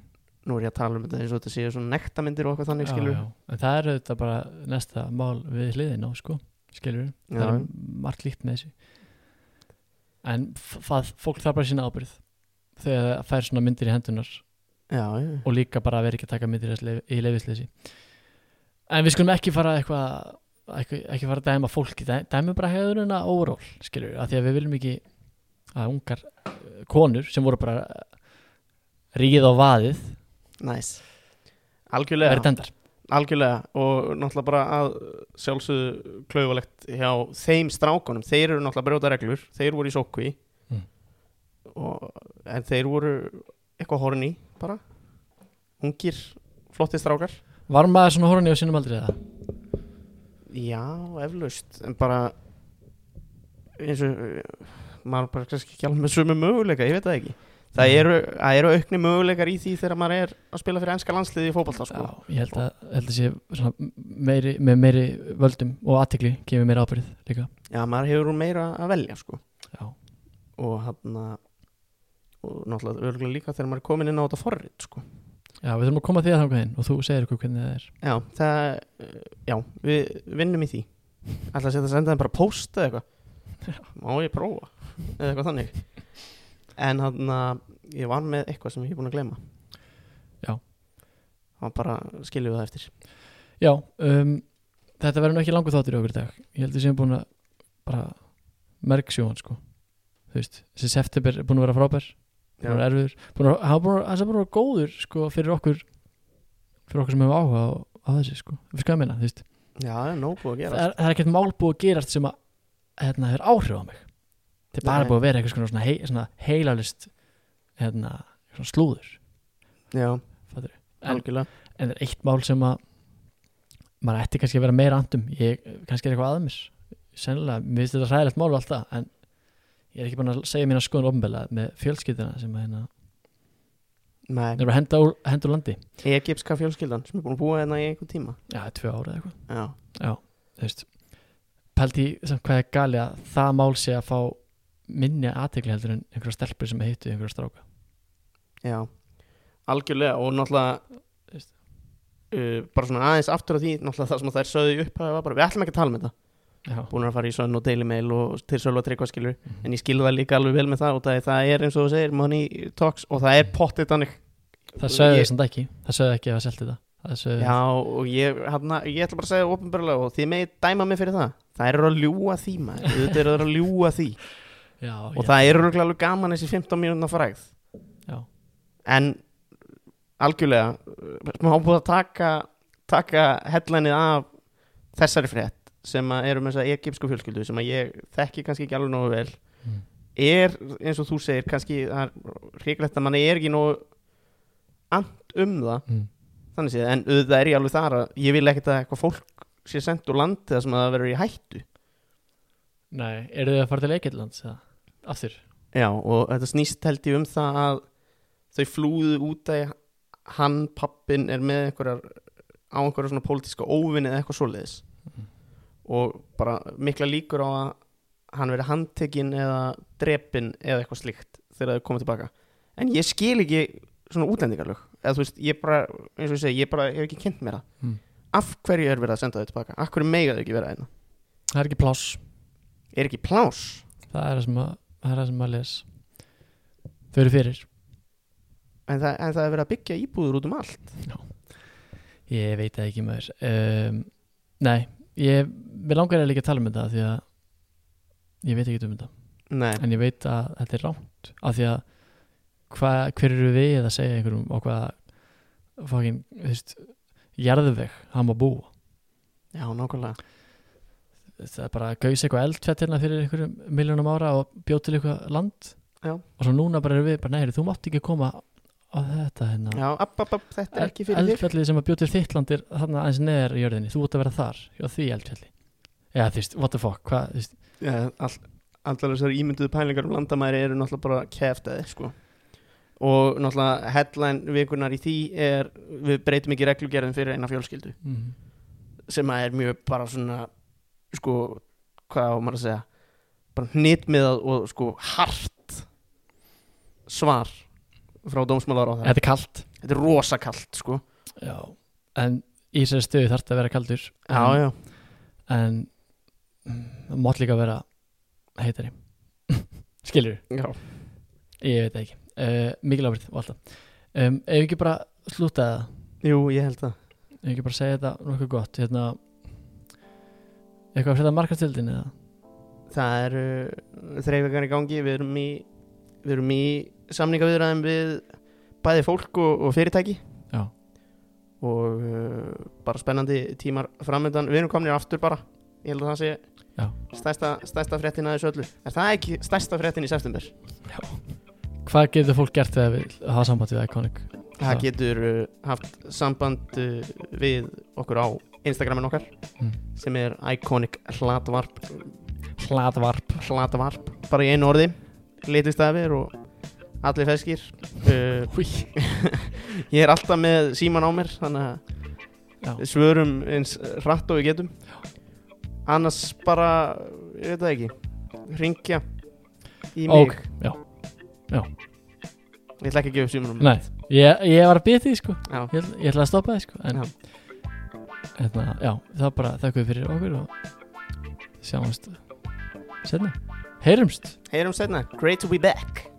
[SPEAKER 2] nú er ég að tala um þetta eins og þetta séu svona nektamyndir og eitthvað þannig
[SPEAKER 1] já,
[SPEAKER 2] skilur
[SPEAKER 1] já. En það er þetta bara næsta mál við hliðin á sko skilur
[SPEAKER 2] Já.
[SPEAKER 1] það er margt líkt með þessu en f- það, fólk þarf bara sína ábyrð þegar það fær svona myndir í hendunar
[SPEAKER 2] já, já.
[SPEAKER 1] og líka bara að vera ekki að taka myndir í leyf- í leifisleysi en við skulum ekki fara eitthvað ekki, ekki fara að dæma fólki dæ- dæmum bara hefðurina overall skilur við, af því að við viljum ekki að ungar eh, konur sem voru bara ríð á vaðið
[SPEAKER 2] næs
[SPEAKER 1] verið
[SPEAKER 2] Algjörlega,
[SPEAKER 1] dæmdar
[SPEAKER 2] algjörlega og náttúrulega bara að sjálfsögðu klaufalegt hjá þeim strákunum þeir eru náttúrulega að brjóta reglur, þeir voru í sókví
[SPEAKER 1] Mm.
[SPEAKER 2] og, en þeir voru eitthvað horni bara, ungir flottir strákar
[SPEAKER 1] var maður svona horni á sínum aldrei það
[SPEAKER 2] Já, eflaust, en bara eins og uh, maður bara kannski ekki alveg með sömu möguleika, ég veit það ekki Það
[SPEAKER 1] Nei.
[SPEAKER 2] eru, það eru aukni möguleikar í því þegar maður er að spila fyrir enska landsliði í fótballta sko.
[SPEAKER 1] Já, ég held að, held að sé svona meiri, með meiri völdum og aðtekli gefur meira ábyrð líka
[SPEAKER 2] Já, maður hefur úr meira að velja sko.
[SPEAKER 1] Já,
[SPEAKER 2] og hann og náttúrulega örgulega líka þegar maður er komin inn á þetta forrið sko.
[SPEAKER 1] já við þurfum að koma þér þangað inn og þú segir okkur hvernig það er
[SPEAKER 2] Já, það uh, já, við vinnum í því Ætla að setja að senda þeim bara post eða eitthvað Má ég prófa eða eitthvað þannig En hann ég var með eitthvað sem ég er búin að gleyma
[SPEAKER 1] Já.
[SPEAKER 2] Og bara skiljum við það eftir
[SPEAKER 1] Já, um, þetta verður nú ekki langur þáttur í okkur í dag Ég held að við séum búin að bara merksjóðan sko Þú veist, þessi september er búin að vera frábær búin að vera erfiður búin að, hann búin að, hann búin að vera góður sko fyrir okkur fyrir okkur sem hefur áhuga á, á þessi sko Við skoðum minna, þú veist
[SPEAKER 2] Já, það er nóg búið að
[SPEAKER 1] það
[SPEAKER 2] gera
[SPEAKER 1] er, það er ekkert mál búið að gerast sem að hérna, hefur áhrif á mig þetta er bara
[SPEAKER 2] Nei.
[SPEAKER 1] búið að vera eitthvað svona, hei, svona heilalist hérna, svona slúður
[SPEAKER 2] Já,
[SPEAKER 1] fattarðu. en,
[SPEAKER 2] algjörlega
[SPEAKER 1] en það er eitt mál sem að maður ætti kannski að vera meira andum ég, kannski er eitthvað aðeins sennilega, mér finnst þetta ræðilegt mál og allt það en ég er ekki búin að segja mína skoðun ofnbeglega með fjölskyldina sem að hérna,
[SPEAKER 2] Nei,
[SPEAKER 1] þeir eru að henda úr, henda úr landi
[SPEAKER 2] egypska fjölskyldan sem er búin að búa hérna í einhvern tíma
[SPEAKER 1] já, tvö ára eða eitthvað
[SPEAKER 2] Já,
[SPEAKER 1] Já, þú veist Pældi í samt hvað er gali að það mál sé að fá minni aðtekli heldur en einhverja stelpur sem heitu einhverja stráka
[SPEAKER 2] já Algjörlega og náttúrulega
[SPEAKER 1] Veist.
[SPEAKER 2] Uh, bara svona aðeins aftur á því náttúrulega það sem þær sögðu upp að var bara við ætlum ekki að tala með þetta
[SPEAKER 1] Já,
[SPEAKER 2] búin að fara í sönn og daily mail og til sölva tryggva skilur en ég skilur það líka alveg vel með það og það er, það er eins og þú segir money talks og það er pottið þannig
[SPEAKER 1] það sögðu
[SPEAKER 2] Ég-
[SPEAKER 1] ég... samt ekki Það sögðu ekki að það seldi það Það sögðu
[SPEAKER 2] já og ég, hana, ég ætla bara að segja ofinbarlega og þið megið dæma mig fyrir það það eru að ljúa því maður þetta eru að ljúa því
[SPEAKER 1] já,
[SPEAKER 2] og
[SPEAKER 1] já,
[SPEAKER 2] það eru örugglega alveg gaman þessi 15 mínúna frægð
[SPEAKER 1] já,
[SPEAKER 2] en algjörlega uh, má búið að taka taka hellænið af þessari frétt sem að eru með þess að egypsku fjölskyldu sem að ég þekki kannski ekki alveg nógu vel
[SPEAKER 1] Mm.
[SPEAKER 2] er eins og þú segir kannski það er hrikalegt að manni er ekki nógu and um það
[SPEAKER 1] Mm.
[SPEAKER 2] þannig séð en auðvitað er ég alveg þar að ég vil ekkert að eitthvað fólk sé sendt úr landi það sem að það verður í hættu
[SPEAKER 1] Nei, eru þau að fara til Eikillands eða? Aftur
[SPEAKER 2] Já, og þetta snýst held ég um það að þau flúðu út að hann, pappin, er með einhverjar á einhverjar svona pólitíska óvinni eða eitthvað svoleiðis og bara mikla líkur á að hann veri handtekinn eða drepinn eða eitthvað slíkt þegar þau komið tilbaka en ég skil ekki svona útlendingarlög eða þú veist, ég bara, eins og ég segi, ég bara hef ekki kynnt mér það
[SPEAKER 1] Mm.
[SPEAKER 2] af hverju er verið að senda þau tilbaka, af hverju mega þau ekki vera einna
[SPEAKER 1] Það er ekki pláss
[SPEAKER 2] er ekki plás
[SPEAKER 1] Það er það sem að, það er það sem að les Þau eru fyrir
[SPEAKER 2] en það, en það er verið að byggja íbúður út um allt
[SPEAKER 1] Ég veit það ekki maður um, Nei, ég Við langar að líka að tala um þetta af því að Ég veit ekki um þetta
[SPEAKER 2] Nei.
[SPEAKER 1] en ég veit að þetta er rámt af því að hva, hver eru við að segja einhverjum á hvað fucking, þú veist jarðveg, hann má búa
[SPEAKER 2] Já, nákvæmlega
[SPEAKER 1] það er bara að gauðs eitthvað eldfett hérna fyrir einhverjum miljónum ára og bjóð til eitthvað land
[SPEAKER 2] Já.
[SPEAKER 1] og svo núna bara eru við bara neyri, þú mátt ekki koma á þetta hérna
[SPEAKER 2] Já, app, app, app, þetta er ekki fyrir þig
[SPEAKER 1] eldfjallið sem að bjóð til þitt land er þarna aðeins neðar í jörðinni, þú ert að vera þar hjá því eldfjalli eða þú veist, what the fuck, hvað, þú veist
[SPEAKER 2] Já, all, Allar þessar ímynduðu pælingar um landamæri eru náttúrulega bara kæftæði sko. Og náttúrulega headline vikunar í því er Við breytum ekki reglugerðin fyrir eina fjölskyldu
[SPEAKER 1] mm.
[SPEAKER 2] Sem að er mjög bara svona Sko, hvað á maður að segja Bara hnitmiðað og sko hart Svar Frá dómsmálar á það
[SPEAKER 1] þetta er kalt
[SPEAKER 2] Þetta er rosa kalt sko
[SPEAKER 1] já. en í þessari stöðu þarf þetta að vera kaldur
[SPEAKER 2] Já,
[SPEAKER 1] En-
[SPEAKER 2] já,
[SPEAKER 1] en mm, það mátt líka vera heitari skilur,
[SPEAKER 2] já.
[SPEAKER 1] ég veit það ekki uh, mikil ábyrð og alltaf um, ef við ekki bara slúta það
[SPEAKER 2] Jú, ég held það
[SPEAKER 1] ef við ekki bara segja þetta nokkuð gott hérna eitthvað að frétta markastildin eða
[SPEAKER 2] Það eru uh, þreifekar í gangi Við erum í, við erum í samningaviðræðum við bæði fólk og, og fyrirtæki
[SPEAKER 1] Já.
[SPEAKER 2] Og uh, bara spennandi tímar framöndan Við erum komnir aftur bara Ég held að það sé
[SPEAKER 1] Já.
[SPEAKER 2] stærsta, stærsta fréttin að þessu öllu Er það ekki stærsta fréttin í september?
[SPEAKER 1] hvað getur fólk gert þegar við hafa samband við Iconic
[SPEAKER 2] Það
[SPEAKER 1] Já.
[SPEAKER 2] getur uh, haft samband uh, við okkur á Instagramin okkar
[SPEAKER 1] Mm.
[SPEAKER 2] sem er Iconic Hlatvarp
[SPEAKER 1] hlaðvarp
[SPEAKER 2] Hlatvarp, bara í einu orði litistafir og allir feskir uh,
[SPEAKER 1] Hví.
[SPEAKER 2] Ég er alltaf með síman á mér þannig
[SPEAKER 1] Já.
[SPEAKER 2] að svörum eins hratt og við getum annars bara, ég veit það ekki ringja í mig
[SPEAKER 1] Ok, já. Já.
[SPEAKER 2] Ég ætla ekki að gefa upp símanum
[SPEAKER 1] Nei, ég, ég var að byrja því sko
[SPEAKER 2] Já,
[SPEAKER 1] ég, ætla- ég ætla að stoppa því sko en,
[SPEAKER 2] Já.
[SPEAKER 1] hérna, já, það er bara þakkuð fyrir okkur og sjáumst setna, heyrumst
[SPEAKER 2] heyrum setna, great to be back